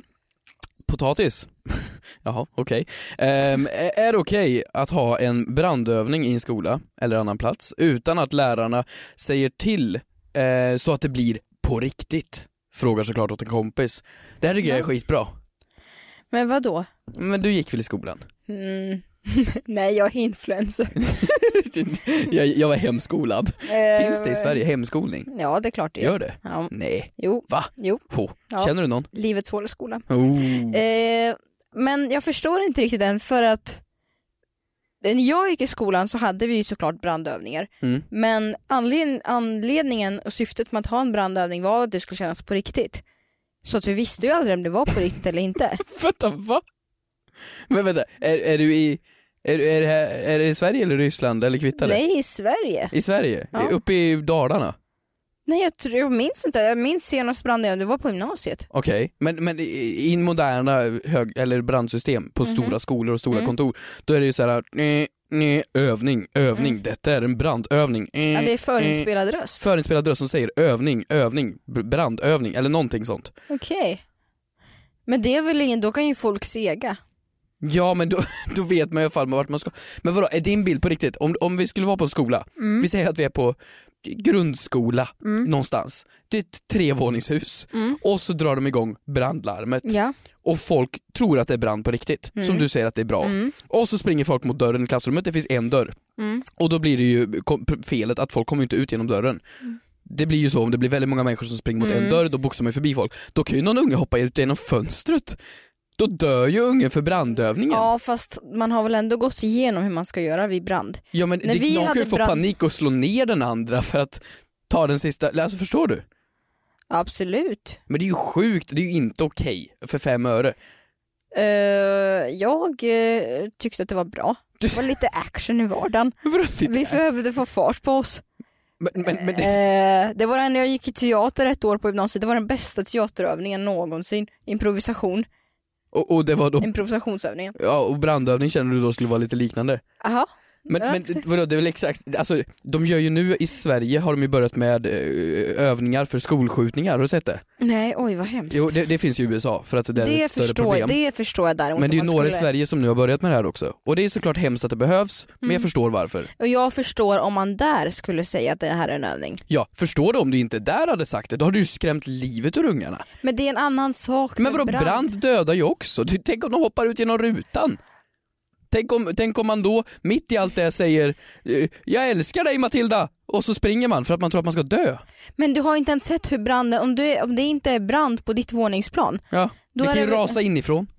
[SPEAKER 2] Potatis. Jaha, okej. Ehm, ä- är det okej att ha en brandövning i en skola eller annan plats utan att lärarna säger till eh, så att det blir på riktigt? Frågar såklart åt en kompis. Det här tycker jag är skitbra.
[SPEAKER 1] Men vad då?
[SPEAKER 2] Men du gick väl i skolan?
[SPEAKER 1] Mm. Nej, jag är influencer.
[SPEAKER 2] jag, jag var hemskolad. Finns det i Sverige hemskolning?
[SPEAKER 1] Eh, Ja, det är klart det
[SPEAKER 2] Gör det?
[SPEAKER 1] Ja.
[SPEAKER 2] Nej.
[SPEAKER 1] Jo,
[SPEAKER 2] Va?
[SPEAKER 1] jo.
[SPEAKER 2] Ho.
[SPEAKER 1] Ja.
[SPEAKER 2] Känner du någon?
[SPEAKER 1] Livets hål i skolan.
[SPEAKER 2] Oh.
[SPEAKER 1] Eh, men jag förstår inte riktigt den för att eh, när jag gick i skolan så hade vi ju såklart brandövningar.
[SPEAKER 2] Mm.
[SPEAKER 1] Men anled- anledningen och syftet med att ha en brandövning var att det skulle kännas på riktigt. Så att vi visste ju aldrig om det var på riktigt eller inte.
[SPEAKER 2] Vänta, va? Men vänta, är, är du i... Är, är, det här, är det i Sverige eller Ryssland eller kvittade?
[SPEAKER 1] Nej, i Sverige.
[SPEAKER 2] I Sverige?
[SPEAKER 1] Ja.
[SPEAKER 2] Uppe i Dalarna?
[SPEAKER 1] Nej, jag, tror, jag minns inte. Jag minns senast brandövning, det var på gymnasiet.
[SPEAKER 2] Okej, men, men i i moderna hög, eller brandsystem
[SPEAKER 1] Mhm.
[SPEAKER 2] på stora skolor och
[SPEAKER 1] Mm.
[SPEAKER 2] stora kontor, då är det ju så här, nej, nej, övning, övning, detta är en brandövning. Eh,
[SPEAKER 1] Mm. Ja, det är
[SPEAKER 2] eh.
[SPEAKER 1] förinspelad röst.
[SPEAKER 2] Förinspelad röst som säger övning, övning, br- brandövning eller någonting sånt.
[SPEAKER 1] Okej. Men det är väl ingen, då kan ju folk sega.
[SPEAKER 2] Ja men då, då vet man i alla fall vart man ska. Men vadå, är din bild på riktigt? Om, om vi skulle vara på en skola, vi säger att vi är på g- grundskola någonstans, det är ett trevåningshus och så drar de igång brandlarmet
[SPEAKER 1] Ja.
[SPEAKER 2] och folk tror att det är brand på riktigt, som du säger att det är bra. Och så springer folk mot dörren i klassrummet, det finns en dörr. Och då blir det ju kom- p- felet att folk kommer ju inte ut genom dörren. Det blir ju så om det blir väldigt många människor som springer mot en dörr, då boxar man ju förbi folk. Då kan ju någon unge hoppa ut genom fönstret. Då dör ju ungen för brandövningen. Ja,
[SPEAKER 1] ja, fast man har väl ändå gått igenom hur man ska göra vid brand.
[SPEAKER 2] men
[SPEAKER 1] när
[SPEAKER 2] det,
[SPEAKER 1] vi
[SPEAKER 2] någon kan
[SPEAKER 1] hade
[SPEAKER 2] ju få
[SPEAKER 1] brand-
[SPEAKER 2] panik och slå ner den andra för att ta den sista, alltså förstår du?
[SPEAKER 1] Absolut.
[SPEAKER 2] Men det är ju sjukt, det är ju inte okej för fem öre.
[SPEAKER 1] Eh, jag eh, tyckte att det var bra.
[SPEAKER 2] Du-
[SPEAKER 1] Det var lite action i vardagen.
[SPEAKER 2] Men vadå,
[SPEAKER 1] Vi
[SPEAKER 2] det-
[SPEAKER 1] behövde få fart på oss.
[SPEAKER 2] Men, men, men, det-
[SPEAKER 1] Eh, det var när jag gick i teater ett år på gymnasiet, det var den bästa teaterövningen någonsin. Improvisation,
[SPEAKER 2] och, och det var då,
[SPEAKER 1] improvisationsövningen.
[SPEAKER 2] ja, och brandövning känner du då skulle vara lite liknande?
[SPEAKER 1] Aha.
[SPEAKER 2] Men,
[SPEAKER 1] Ja,
[SPEAKER 2] men
[SPEAKER 1] exakt.
[SPEAKER 2] vadå, det är väl exakt, alltså, de gör ju nu i Sverige har de ju börjat med eh, övningar för skolskjutningar, har du sett det?
[SPEAKER 1] Nej, oj vad hemskt.
[SPEAKER 2] Jo det, det finns ju i USA för att det är
[SPEAKER 1] det,
[SPEAKER 2] ett större
[SPEAKER 1] förstår,
[SPEAKER 2] problem.
[SPEAKER 1] jag- det förstår jag däremot.
[SPEAKER 2] Men det är ju
[SPEAKER 1] om man
[SPEAKER 2] några i
[SPEAKER 1] skulle-
[SPEAKER 2] Sverige som nu har börjat med det här också. Och det är såklart hemskt att det behövs, men
[SPEAKER 1] Mm.
[SPEAKER 2] jag förstår varför.
[SPEAKER 1] Och jag förstår om man där skulle säga att det här är en övning.
[SPEAKER 2] Ja, förstår du om du inte där hade sagt det, då har du ju skrämt livet ur ungarna.
[SPEAKER 1] Men det är en annan sak
[SPEAKER 2] Men
[SPEAKER 1] med
[SPEAKER 2] vadå, brand. dödar ju också. Du, tänk om de hoppar ut genom rutan. Tänk om, tänk om man då, mitt i allt det säger eh, “Jag älskar dig Matilda” och så springer man för att man tror att man ska dö.
[SPEAKER 1] Men du har ju inte ens sett hur branden, om, du är, om det inte är brand på ditt våningsplan.
[SPEAKER 2] Ja.
[SPEAKER 1] Då
[SPEAKER 2] det
[SPEAKER 1] är
[SPEAKER 2] kan ju
[SPEAKER 1] det väl-
[SPEAKER 2] rasa inifrån.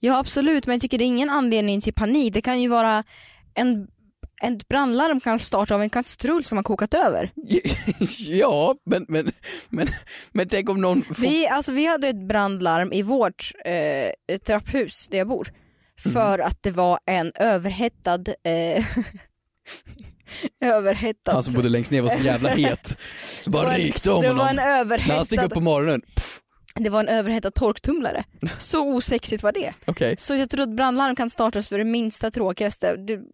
[SPEAKER 1] Ja absolut, men jag tycker det är ingen anledning till panik. Det kan ju vara en en brandlarm kan starta av en kastrull som har kokat över.
[SPEAKER 2] ja, men, men, men, men tänk om någon... Får...
[SPEAKER 1] Vi, alltså, vi hade ett brandlarm i vårt eh, trapphus där jag bor. För att det var en överhettad... Eh, överhettad...
[SPEAKER 2] Han som bodde längst ner var så jävla het. Det
[SPEAKER 1] Det
[SPEAKER 2] bara
[SPEAKER 1] var en-
[SPEAKER 2] rykte om
[SPEAKER 1] det var
[SPEAKER 2] honom.
[SPEAKER 1] en
[SPEAKER 2] När han steg
[SPEAKER 1] överhettad,
[SPEAKER 2] upp på morgonen, pff,
[SPEAKER 1] det var en överhettad torktumlare. Så osexigt var det.
[SPEAKER 2] okej.
[SPEAKER 1] Så jag tror att brandlarm kan startas för det minsta tråkigaste. Du,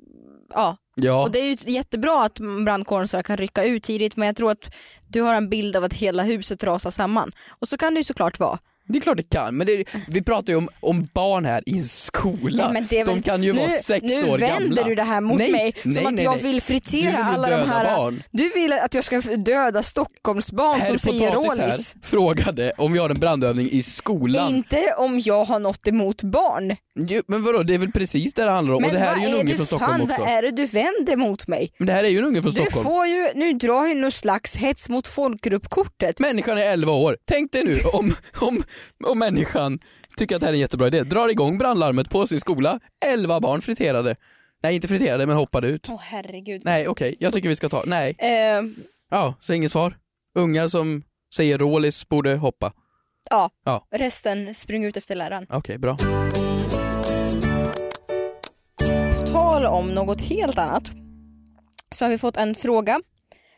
[SPEAKER 1] ja.
[SPEAKER 2] Ja.
[SPEAKER 1] Och det är ju jättebra att brandkåren så här kan rycka ut tidigt men jag tror att du har en bild av att hela huset rasar samman. Och så kan det ju såklart vara.
[SPEAKER 2] Det är klart det kan, men det är, vi pratar ju om, om barn här i en skola.
[SPEAKER 1] Nej, men det är väl-
[SPEAKER 2] De kan ju
[SPEAKER 1] nu,
[SPEAKER 2] vara sex
[SPEAKER 1] nu
[SPEAKER 2] år gamla.
[SPEAKER 1] vänder du det här mot
[SPEAKER 2] nej,
[SPEAKER 1] mig som
[SPEAKER 2] nej,
[SPEAKER 1] att
[SPEAKER 2] nej,
[SPEAKER 1] jag
[SPEAKER 2] nej.
[SPEAKER 1] vill
[SPEAKER 2] Du
[SPEAKER 1] fritera
[SPEAKER 2] vill ju
[SPEAKER 1] alla de
[SPEAKER 2] döda
[SPEAKER 1] här...
[SPEAKER 2] barn.
[SPEAKER 1] Du vill att jag ska döda Stockholmsbarn
[SPEAKER 2] Herr
[SPEAKER 1] som säger
[SPEAKER 2] Potatis här
[SPEAKER 1] rålis.
[SPEAKER 2] frågade om vi har en brandövning i skolan.
[SPEAKER 1] Inte om jag har något emot barn.
[SPEAKER 2] Jo, men vadå, det är väl precis det det handlar om.
[SPEAKER 1] Men
[SPEAKER 2] Och det här är
[SPEAKER 1] vad
[SPEAKER 2] ju en
[SPEAKER 1] är
[SPEAKER 2] unge
[SPEAKER 1] du
[SPEAKER 2] från Stockholm
[SPEAKER 1] fan,
[SPEAKER 2] också.
[SPEAKER 1] Vad är det du vänder mot mig?
[SPEAKER 2] Men det här är ju en unge från
[SPEAKER 1] Du
[SPEAKER 2] Stockholm.
[SPEAKER 1] får ju, nu drar ju någon slags hets mot folkgruppkortet.
[SPEAKER 2] Människan är 11 år. Tänk dig nu om, om, om människan tycker att det här är en jättebra idé. Drar igång brandlarmet på sin skola. 11 barn friterade. Nej, inte friterade, men hoppade ut.
[SPEAKER 1] Åh herregud.
[SPEAKER 2] Nej, okej. Jag tycker vi ska ta... Nej.
[SPEAKER 1] Eh,
[SPEAKER 2] Ja, så inget svar. Ungar som säger rålis borde hoppa.
[SPEAKER 1] ja.
[SPEAKER 2] Ja.
[SPEAKER 1] resten spring ut efter läraren.
[SPEAKER 2] Okej, bra.
[SPEAKER 1] På tal om något helt annat så har vi fått en fråga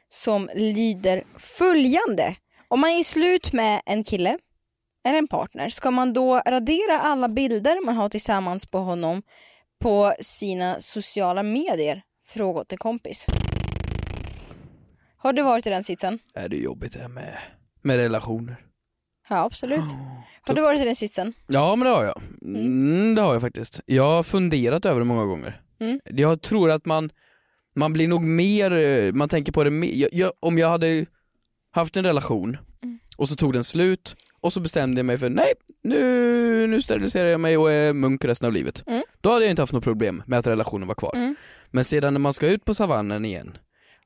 [SPEAKER 1] som lyder följande. Om man är slut med en kille eller en partner, ska man då radera alla bilder man har tillsammans på honom på sina sociala medier? Fråga åt en kompis. Har du varit i den sitsen?
[SPEAKER 2] Är det är jobbigt det här med, med relationer?
[SPEAKER 1] Ja, absolut.
[SPEAKER 2] Ah,
[SPEAKER 1] Har du varit i den sitsen?
[SPEAKER 2] Ja men det har jag. Mm, det har jag faktiskt. Jag har funderat över det många gånger.
[SPEAKER 1] Mm.
[SPEAKER 2] Jag tror att man, man blir nog mer, eh, man tänker på det mer. Jag, jag, om jag hade haft en relation
[SPEAKER 1] Mm.
[SPEAKER 2] och så tog den slut och så bestämde jag mig för nej, nu, nu steriliserar jag mig och är munk resten av livet.
[SPEAKER 1] Mm.
[SPEAKER 2] Då hade jag inte haft något problem med att relationen var kvar. Men sedan när man ska ut på savannen igen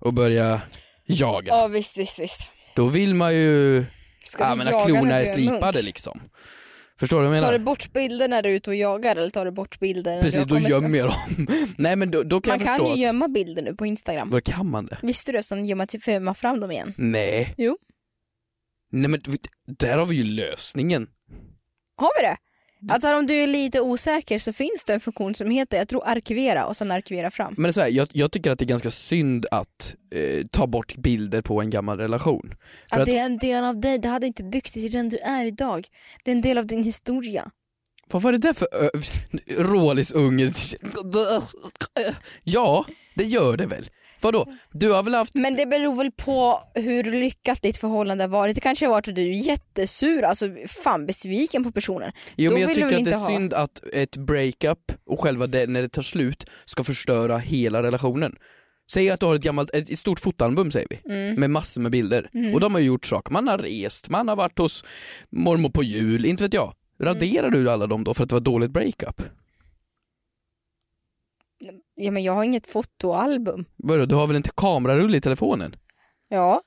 [SPEAKER 2] och börja jaga,
[SPEAKER 1] Ja, visst, visst, visst.
[SPEAKER 2] då vill man ju,
[SPEAKER 1] Ska
[SPEAKER 2] ja
[SPEAKER 1] du
[SPEAKER 2] men att
[SPEAKER 1] jaga när
[SPEAKER 2] klorna
[SPEAKER 1] du
[SPEAKER 2] är
[SPEAKER 1] en
[SPEAKER 2] slipade
[SPEAKER 1] munk?
[SPEAKER 2] liksom. Förstår du vad jag menar?
[SPEAKER 1] Tar du bort bilder när du är ute och jagar eller tar du bort bilder när
[SPEAKER 2] Precis,
[SPEAKER 1] du
[SPEAKER 2] då
[SPEAKER 1] har kommit-
[SPEAKER 2] gömmer jag dem. Nej men då, då kan
[SPEAKER 1] Man
[SPEAKER 2] jag förstå
[SPEAKER 1] kan ju
[SPEAKER 2] att...
[SPEAKER 1] gömma bilder nu på Instagram.
[SPEAKER 2] Då kan man det?
[SPEAKER 1] Visste du det? Sen gömma, till- gömma fram dem igen.
[SPEAKER 2] Nej.
[SPEAKER 1] Jo.
[SPEAKER 2] Nej men vi- där har vi ju lösningen.
[SPEAKER 1] Har vi det? Alltså om du är lite osäker så finns det en funktion som heter, jag tror arkivera och sen arkivera fram.
[SPEAKER 2] Men så här, jag, jag tycker att det är ganska synd att eh, ta bort bilder på en gammal relation. För
[SPEAKER 1] Att
[SPEAKER 2] att,
[SPEAKER 1] det är en del av dig, det hade inte byggt dig till den du är idag. Det är en del av din historia.
[SPEAKER 2] Vad var det där för ö- rålisunge? Ja, det gör det väl. Vadå? Du har väl haft...
[SPEAKER 1] Men det beror väl på hur lyckat ditt förhållande har varit. Det kanske har varit att du är jättesur, alltså fan besviken på personen.
[SPEAKER 2] Jo
[SPEAKER 1] Då
[SPEAKER 2] men jag
[SPEAKER 1] vill du
[SPEAKER 2] tycker
[SPEAKER 1] väl
[SPEAKER 2] att det
[SPEAKER 1] inte
[SPEAKER 2] är
[SPEAKER 1] ha-
[SPEAKER 2] synd att ett breakup och själva det, när det tar slut ska förstöra hela relationen. Säg att du har ett gammalt, ett ett stort fotoalbum säger vi,
[SPEAKER 1] Mm.
[SPEAKER 2] med massor med bilder. Och de har ju gjort saker, man har rest, man har varit hos mormor på jul, inte vet jag. Raderar du alla dem då för att det var ett dåligt breakup?
[SPEAKER 1] Ja men jag har inget fotoalbum.
[SPEAKER 2] Vadå, du har väl inte kamerarulle i telefonen?
[SPEAKER 1] Ja.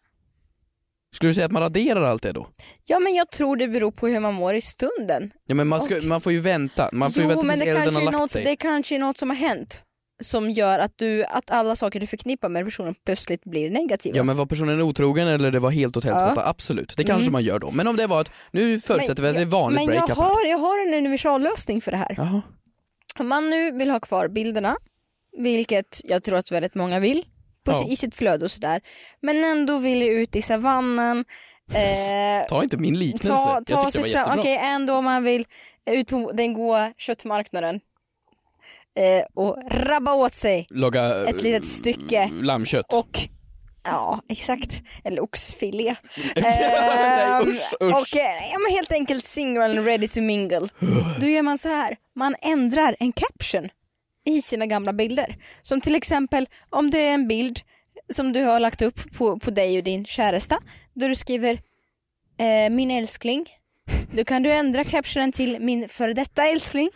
[SPEAKER 2] Skulle du säga att man raderar allt det då?
[SPEAKER 1] Ja men jag tror det beror på hur man mår i stunden.
[SPEAKER 2] Ja men man, ska, man får ju vänta, man får ju
[SPEAKER 1] Jo
[SPEAKER 2] vänta
[SPEAKER 1] men
[SPEAKER 2] tills
[SPEAKER 1] det
[SPEAKER 2] elden
[SPEAKER 1] kanske,
[SPEAKER 2] har
[SPEAKER 1] är
[SPEAKER 2] lagt
[SPEAKER 1] något,
[SPEAKER 2] sig.
[SPEAKER 1] det kanske är något som har hänt som gör att, du, att alla saker du förknippar med personen plötsligt blir negativa.
[SPEAKER 2] Ja men var personen otrogen eller det var helt åt helskotta, absolut. Det kanske man gör då. Men om det var ett, nu förutsätter vi att det är
[SPEAKER 1] jag-
[SPEAKER 2] vanligt
[SPEAKER 1] Mm. men jag
[SPEAKER 2] breakup. här.
[SPEAKER 1] har, jag har en universallösning för det här.
[SPEAKER 2] Jaha.
[SPEAKER 1] Om man nu vill ha kvar bilderna, vilket jag tror att väldigt många vill, på,
[SPEAKER 2] Ja.
[SPEAKER 1] i sitt flöde och sådär, men ändå vill ut i savannen, eh,
[SPEAKER 2] Ta inte min liknelse,
[SPEAKER 1] ta,
[SPEAKER 2] jag
[SPEAKER 1] ta
[SPEAKER 2] tyckte det var
[SPEAKER 1] sig fram.
[SPEAKER 2] jättebra.
[SPEAKER 1] Okej, ändå om man vill ut på den goa köttmarknaden eh, och rabba åt sig
[SPEAKER 2] Laga
[SPEAKER 1] ett litet stycke
[SPEAKER 2] lammkött.
[SPEAKER 1] och Ja, exakt. Eller oxfilé.
[SPEAKER 2] Nej,
[SPEAKER 1] Ehm,
[SPEAKER 2] usch, usch.
[SPEAKER 1] Och eh, ja, men helt enkelt single and ready to mingle. Då gör man så här, man ändrar en caption i sina gamla bilder. Som till exempel om det är en bild som du har lagt upp på, på dig och din käresta. Då du skriver eh, min älskling. Då kan du ändra captionen till min före detta älskling.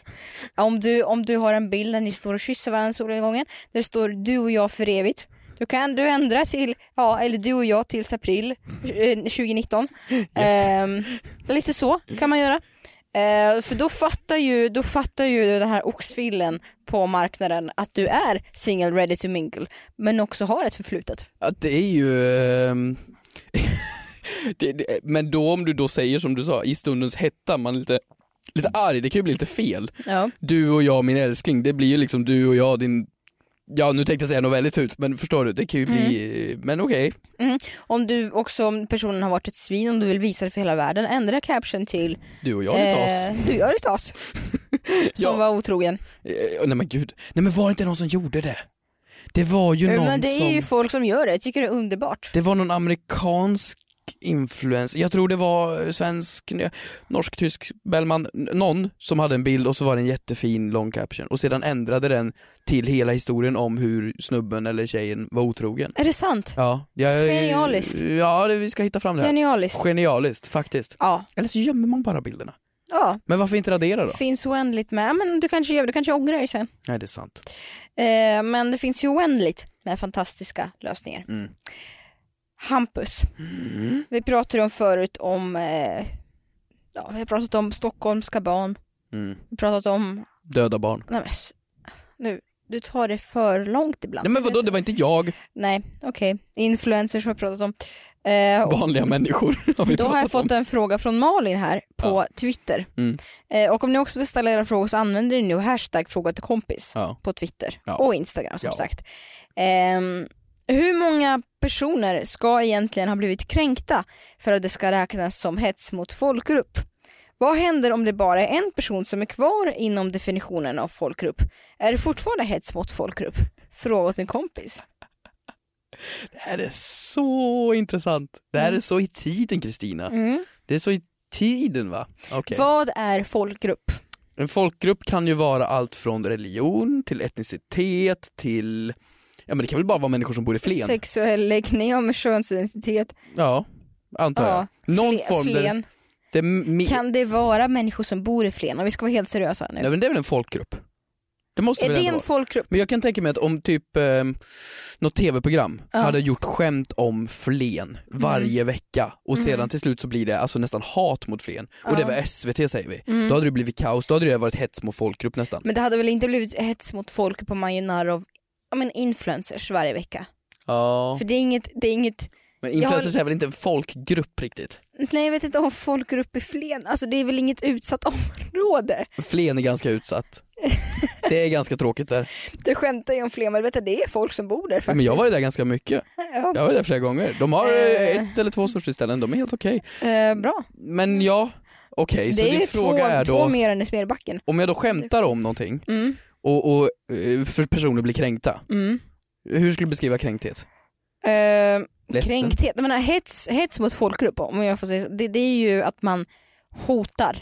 [SPEAKER 1] Om du, om du har en bild där ni står och kysser varandra solnedgången, där det står du och jag för evigt. Då kan du ändra till, ja, eller du och jag tills april eh, 2019. Ehm, lite så kan man göra. Eh, för då fattar, ju, då fattar ju den här oxfillen på marknaden att du är single ready to mingle men också har ett förflutet.
[SPEAKER 2] Att det är ju... ehm, det, det, men då om du då säger som du sa, i stundens hetta, man är lite, lite arg, det kan ju bli lite fel.
[SPEAKER 1] Ja.
[SPEAKER 2] Du och jag min älskling, det blir ju liksom du och jag din... Ja nu tänkte jag säga något väldigt fult men förstår du, det kan ju bli...
[SPEAKER 1] Mm.
[SPEAKER 2] Men okej.
[SPEAKER 1] Om du också, om personen har varit ett svin, om du vill visa det för hela världen, ändra caption till
[SPEAKER 2] Du och jag är ett as.
[SPEAKER 1] eh, du är ett as. Som
[SPEAKER 2] Ja.
[SPEAKER 1] var otrogen.
[SPEAKER 2] Eh, Nej men gud. Nej men var det inte någon som gjorde det? Det var ju någon
[SPEAKER 1] Eh, Men det är
[SPEAKER 2] som...
[SPEAKER 1] ju folk som gör det, jag tycker det är underbart.
[SPEAKER 2] Det var någon amerikansk influencer, jag tror det var eh, svensk, n- norsk, tysk, Bellman, n- någon som hade en bild och så var det en jättefin long caption och sedan ändrade den till hela historien om hur snubben eller tjejen var otrogen.
[SPEAKER 1] Är det sant?
[SPEAKER 2] Ja, jag,
[SPEAKER 1] Genialiskt.
[SPEAKER 2] Ja, det, vi ska hitta fram det här.
[SPEAKER 1] Genialiskt.
[SPEAKER 2] Genialiskt, faktiskt.
[SPEAKER 1] Ja.
[SPEAKER 2] Eller så gömmer man bara bilderna.
[SPEAKER 1] ja,
[SPEAKER 2] Men varför inte radera då?
[SPEAKER 1] finns oändligt med. Men du kanske, gör- du kanske ångrar dig sen.
[SPEAKER 2] Nej, det är sant.
[SPEAKER 1] Eh, men det finns ju oändligt med fantastiska lösningar.
[SPEAKER 2] Mm.
[SPEAKER 1] Hampus, vi pratade om förut om, eh, ja, vi har pratat om stockholmska barn,
[SPEAKER 2] Mm.
[SPEAKER 1] vi har pratat om,
[SPEAKER 2] Döda barn.
[SPEAKER 1] nej men, s- nu, du tar det för långt ibland.
[SPEAKER 2] Nej men vadå, det var inte jag.
[SPEAKER 1] Nej, okej, influencers har vi pratat om. Eh, och
[SPEAKER 2] Vanliga människor har vi
[SPEAKER 1] då har jag
[SPEAKER 2] pratat om.
[SPEAKER 1] fått en fråga från Malin här på Twitter.
[SPEAKER 2] Mm.
[SPEAKER 1] Eh, och om ni också vill ställa era frågor så använder ni nu hashtag fråga till kompis.
[SPEAKER 2] Ja.
[SPEAKER 1] på Twitter
[SPEAKER 2] Ja.
[SPEAKER 1] och Instagram som
[SPEAKER 2] Ja.
[SPEAKER 1] sagt. Ehm, hur många personer ska egentligen ha blivit kränkta för att det ska räknas som hets mot folkgrupp? Vad händer om det bara är en person som är kvar inom definitionen av folkgrupp? Är det fortfarande hets mot folkgrupp? Fråga åt en kompis.
[SPEAKER 2] Det här är så intressant. Det här är så i tiden Kristina.
[SPEAKER 1] Mm.
[SPEAKER 2] Det är så i tiden va? Okej.
[SPEAKER 1] Vad är folkgrupp?
[SPEAKER 2] En folkgrupp kan ju vara allt från religion till etnicitet till Ja men det kan väl bara vara människor som bor i Flen?
[SPEAKER 1] Sexuell läggning, ja men könsidentitet.
[SPEAKER 2] Ja, antar jag.
[SPEAKER 1] Ja,
[SPEAKER 2] Någon
[SPEAKER 1] Fle-
[SPEAKER 2] form där,
[SPEAKER 1] Flen.
[SPEAKER 2] det är mi-
[SPEAKER 1] Kan det vara människor som bor i Flen? Om vi ska vara helt seriösa nu.
[SPEAKER 2] Nej men det är väl en folkgrupp? Det måste
[SPEAKER 1] är
[SPEAKER 2] väl
[SPEAKER 1] det
[SPEAKER 2] ändå
[SPEAKER 1] en
[SPEAKER 2] vara.
[SPEAKER 1] folkgrupp?
[SPEAKER 2] Men jag kan tänka mig att om typ eh, något tv-program hade gjort skämt om Flen varje
[SPEAKER 1] Mm.
[SPEAKER 2] vecka och sedan till slut så blir det alltså nästan hat mot Flen och det var SVT säger vi.
[SPEAKER 1] Mm.
[SPEAKER 2] Då hade det blivit kaos, då hade det varit hets mot folkgrupp nästan.
[SPEAKER 1] Men det hade väl inte blivit hets mot folk på man gör narr av ja, men influencers varje vecka?
[SPEAKER 2] Ja.
[SPEAKER 1] För det är inget, det är inget
[SPEAKER 2] Men
[SPEAKER 1] jag har-
[SPEAKER 2] influencers är väl inte en folkgrupp riktigt?
[SPEAKER 1] nej jag vet inte om folkgrupp i Flen, alltså det är väl inget utsatt område.
[SPEAKER 2] Flen är ganska utsatt. Det är ganska tråkigt där.
[SPEAKER 1] Det skämtar ju om Flen, men vet du, det är folk som bor där faktiskt.
[SPEAKER 2] Men jag var där ganska mycket.
[SPEAKER 1] Ja.
[SPEAKER 2] Jag var där flera gånger. De har eh, ett eller två sushiställen, de är helt okej.
[SPEAKER 1] Eh, bra.
[SPEAKER 2] Men ja, okej, så
[SPEAKER 1] det är
[SPEAKER 2] din fråga
[SPEAKER 1] två,
[SPEAKER 2] är då...
[SPEAKER 1] två mer än i Smedbacken.
[SPEAKER 2] om jag då skämtar om någonting
[SPEAKER 1] Mm.
[SPEAKER 2] och, och eh, för personer blir kränkta, hur skulle du beskriva kränkthet?
[SPEAKER 1] Eh,
[SPEAKER 2] Ledsen.
[SPEAKER 1] kränkthet, jag menar hets, hets mot folkgrupp om jag får säga så. Det, det är ju att man hotar.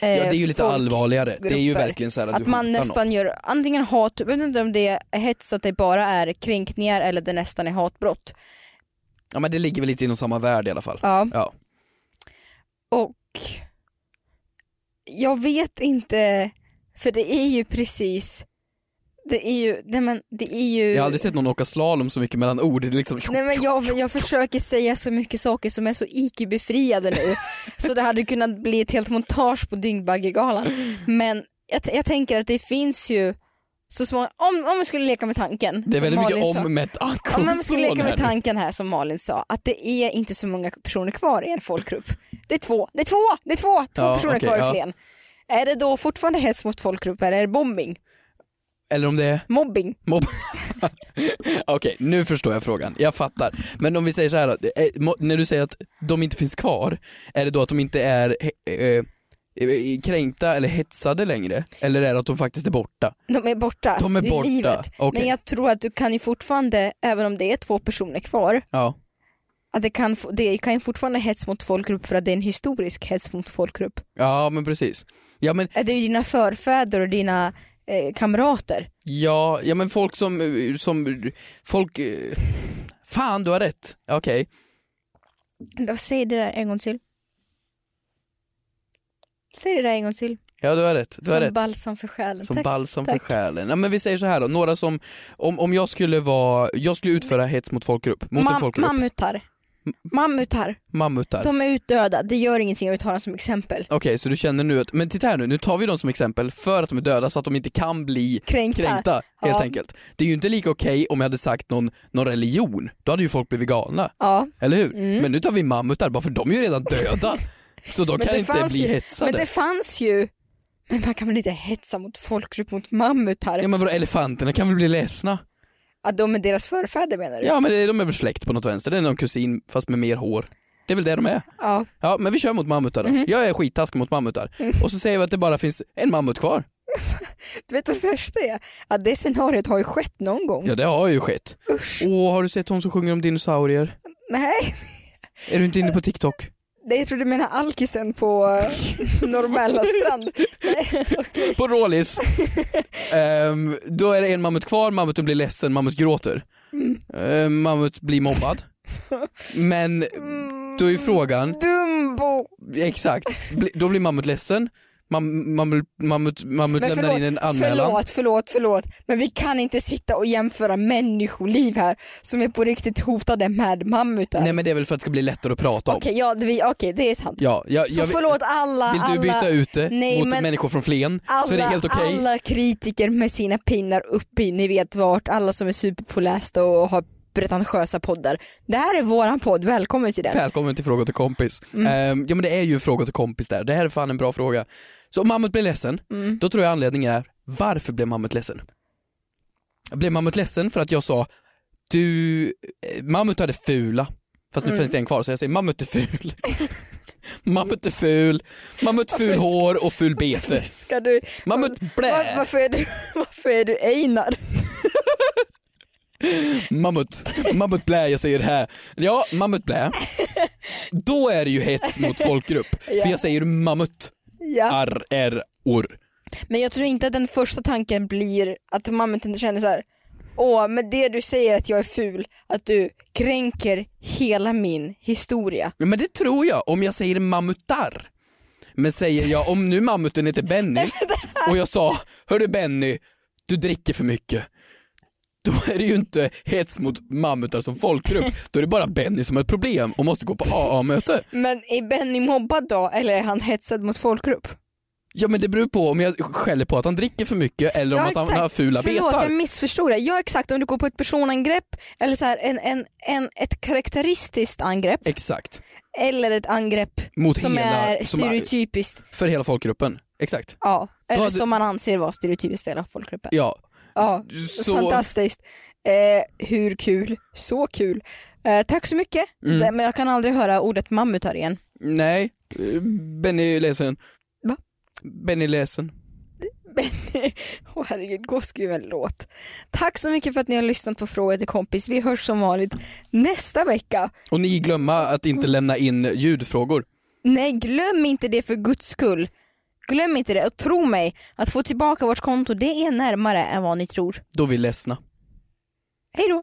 [SPEAKER 1] eh,
[SPEAKER 2] ja, det är ju lite
[SPEAKER 1] folk.
[SPEAKER 2] allvarligare, det är ju
[SPEAKER 1] grupper.
[SPEAKER 2] verkligen så här att,
[SPEAKER 1] Att
[SPEAKER 2] du
[SPEAKER 1] man
[SPEAKER 2] hotar
[SPEAKER 1] nästan gör antingen hat, jag vet inte om det är hets att det bara är kränkningar eller det nästan är hatbrott.
[SPEAKER 2] någon. Ja men det ligger väl lite inom samma värld i alla fall.
[SPEAKER 1] Ja.
[SPEAKER 2] Ja.
[SPEAKER 1] Och jag vet inte, för det är ju precis, det är ju, nej men det är ju
[SPEAKER 2] Jag har aldrig sett någon åka slalom så mycket mellan ord, det är liksom
[SPEAKER 1] Nej men jag, jag försöker säga så mycket saker som är så IQ-befriade nu så det hade kunnat bli ett helt montage på Dyngbaggegalan. Men jag, t- jag tänker att det finns ju så små, om, om vi skulle leka med tanken.
[SPEAKER 2] det är
[SPEAKER 1] som
[SPEAKER 2] väldigt mycket
[SPEAKER 1] Malin sa-
[SPEAKER 2] om Met
[SPEAKER 1] Om man skulle
[SPEAKER 2] Ankomsson
[SPEAKER 1] leka med
[SPEAKER 2] här nu.
[SPEAKER 1] tanken här som Malin sa, att det är inte så många personer kvar i en folkgrupp. Det är två, det är två, det är två, två
[SPEAKER 2] Ja,
[SPEAKER 1] personer
[SPEAKER 2] okej,
[SPEAKER 1] kvar
[SPEAKER 2] ja.
[SPEAKER 1] i Flen. Är det då fortfarande hets mot folkgrupp eller är det bombing?
[SPEAKER 2] Eller om det är
[SPEAKER 1] Mobbing?
[SPEAKER 2] Mobb... Okej, nu förstår jag frågan. Jag fattar. Men om vi säger så här då, eh, mo- när du säger att de inte finns kvar, är det då att de inte är eh, eh, eh, kränkta eller hetsade längre? Eller är det att de faktiskt är borta?
[SPEAKER 1] De är borta,
[SPEAKER 2] De är
[SPEAKER 1] ur
[SPEAKER 2] borta,
[SPEAKER 1] livet.
[SPEAKER 2] okej.
[SPEAKER 1] Men jag tror att du kan ju fortfarande, även om det är två personer kvar,
[SPEAKER 2] Ja.
[SPEAKER 1] att det kan, få- det kan ju fortfarande hets mot folkgrupp för att det är en historisk hets mot folkgrupp.
[SPEAKER 2] Ja, men precis. Ja men,
[SPEAKER 1] Det är ju dina förfäder och dina eh, kamrater.
[SPEAKER 2] ja, ja, men folk som, eh, som, folk, eh, fan du har rätt. Ja, Okej.
[SPEAKER 1] Då, säg det där en gång till. Säg det där en gång till.
[SPEAKER 2] Ja du har rätt, du har
[SPEAKER 1] Som
[SPEAKER 2] rätt.
[SPEAKER 1] balsam för själen.
[SPEAKER 2] Som
[SPEAKER 1] Tack.
[SPEAKER 2] balsam
[SPEAKER 1] tack.
[SPEAKER 2] för själen. Ja, men vi säger så här då, några som, om, om jag skulle vara, jag skulle utföra hets mot folkgrupp, mot en
[SPEAKER 1] Mam-
[SPEAKER 2] folkgrupp,
[SPEAKER 1] mammutar. Mammutar.
[SPEAKER 2] mammutar.
[SPEAKER 1] De är utdöda. Det gör ingenting om vi tar dem som exempel.
[SPEAKER 2] Okej, så du känner nu att, men titta här nu, nu tar vi dem som exempel för att de är döda så att de inte kan bli
[SPEAKER 1] Kränkta.
[SPEAKER 2] helt
[SPEAKER 1] Ja.
[SPEAKER 2] enkelt. Det är ju inte lika okej om jag hade sagt någon, någon religion, då hade ju folk blivit galna.
[SPEAKER 1] Ja. Mm.
[SPEAKER 2] Eller hur? Men nu tar vi mammutar bara för de är ju redan döda. så de kan inte bli
[SPEAKER 1] ju,
[SPEAKER 2] hetsade.
[SPEAKER 1] Men det fanns ju... Men man kan väl inte hetsa mot folkgrupp, mot mammutar?
[SPEAKER 2] Ja men vadå, elefanterna kan väl bli ledsna?
[SPEAKER 1] Att de är deras förfäder menar du?
[SPEAKER 2] Ja men det- de är väl släkt på något vänster, det är någon kusin fast med mer hår. Det är väl det de är.
[SPEAKER 1] Ja. Mhm. Mm.
[SPEAKER 2] Ja men vi kör mot mammutar då. Jag är skittaskig mot mammutar. Och så säger vi att det bara finns en mammut kvar.
[SPEAKER 1] Du vet vad det värsta är? Att det scenariot har ju skett någon gång.
[SPEAKER 2] Ja det har ju skett.
[SPEAKER 1] Usch.
[SPEAKER 2] Åh, har du sett hon som sjunger om dinosaurier?
[SPEAKER 1] Nej,
[SPEAKER 2] Är du inte inne på TikTok?
[SPEAKER 1] det jag tror du menar alkisen på eh, normala strand.
[SPEAKER 2] På Rålis. Ehm, då är det en mammut kvar, mammuten blir ledsen, mammut gråter. Ehm, mammut blir mobbad. Men då är ju frågan,
[SPEAKER 1] Dumbo!
[SPEAKER 2] exakt, bli- då blir mammut ledsen, mam, mammut, mammut, mammut
[SPEAKER 1] Men
[SPEAKER 2] lämnar in en anmälan.
[SPEAKER 1] förlåt, förlåt, förlåt. Men vi kan inte sitta och jämföra människoliv här som är på riktigt hotade med mammutar.
[SPEAKER 2] Nej men det är väl för att det ska bli lättare att prata om.
[SPEAKER 1] Okej, ja, det, vi- okej, det är sant.
[SPEAKER 2] Ja, jag,
[SPEAKER 1] Så
[SPEAKER 2] jag,
[SPEAKER 1] förlåt alla,
[SPEAKER 2] vill
[SPEAKER 1] alla,
[SPEAKER 2] du byta ut det
[SPEAKER 1] Nej,
[SPEAKER 2] mot
[SPEAKER 1] men-
[SPEAKER 2] människor från Flen
[SPEAKER 1] alla,
[SPEAKER 2] så är det helt okej.
[SPEAKER 1] alla kritiker med sina pinnar upp i, ni vet vart, alla som är superpålästa och har pretentiösa poddar. Det här är våran podd, välkommen till den.
[SPEAKER 2] Välkommen till Fråga till kompis. Ehm, ja men det är ju Fråga till kompis där, det här är fan en bra fråga. Så om mammut blir ledsen, då tror jag anledningen är varför blev mammut ledsen? Blev mammut ledsen för att jag sa du, eh, mammutar är fula, fast nu finns det en kvar så jag säger mammut är ful. Mammut är ful, mammut ful hår och ful bete.
[SPEAKER 1] Ska du...
[SPEAKER 2] Mammut blä.
[SPEAKER 1] Var, varför, är du, varför är du Einar?
[SPEAKER 2] Mammut, mammut blä, jag säger det här. Ja, mammut blä. Då är det ju hets mot folkgrupp. För jag säger mammut,
[SPEAKER 1] Ja.
[SPEAKER 2] arr, är, orr.
[SPEAKER 1] Men jag tror inte att den första tanken blir att mammuten känner så här. Åh, men det du säger att jag är ful, att du kränker hela min historia.
[SPEAKER 2] Men det tror jag, om jag säger mammutar. Men säger jag, om nu mammuten heter Benny och jag sa, hörru Benny, du dricker för mycket. Då är det ju inte hets mot mammutar som folkgrupp, då är det bara Benny som har ett problem och måste gå på AA-möte.
[SPEAKER 1] Men är Benny mobbad då eller är han hetsad mot folkgrupp?
[SPEAKER 2] Ja men det beror på om jag skäller på att han dricker för mycket eller om att han har fula
[SPEAKER 1] Förlåt,
[SPEAKER 2] betar.
[SPEAKER 1] jag missförstod det. Ja exakt, om du går på ett personangrepp eller så här, en, en, en, ett karaktäristiskt angrepp
[SPEAKER 2] Exakt,
[SPEAKER 1] eller ett angrepp
[SPEAKER 2] Mot
[SPEAKER 1] som
[SPEAKER 2] hela-
[SPEAKER 1] är
[SPEAKER 2] som är-
[SPEAKER 1] stereotypiskt.
[SPEAKER 2] för hela folkgruppen. Exakt.
[SPEAKER 1] Ja, eller
[SPEAKER 2] hade-
[SPEAKER 1] som man anser vara stereotypiskt för hela folkgruppen.
[SPEAKER 2] Ja,
[SPEAKER 1] Ja,
[SPEAKER 2] Så-
[SPEAKER 1] fantastiskt. Eh, hur kul, så kul. Eh, tack så mycket,
[SPEAKER 2] Mm.
[SPEAKER 1] men jag kan aldrig höra ordet mammut här igen.
[SPEAKER 2] nej, eh, Benny är ledsen.
[SPEAKER 1] Va?
[SPEAKER 2] Benny är ledsen.
[SPEAKER 1] Åh herregud, gå och skriv en låt. Tack så mycket för att ni har lyssnat på Fråga till kompis. Vi hörs som vanligt nästa vecka.
[SPEAKER 2] Och ni glömma att inte lämna in ljudfrågor.
[SPEAKER 1] Nej, glöm inte det för guds skull. Glöm inte det och tro mig, att få tillbaka vårt konto det är närmare än vad ni tror.
[SPEAKER 2] Då är vi ledsna.
[SPEAKER 1] Hej då!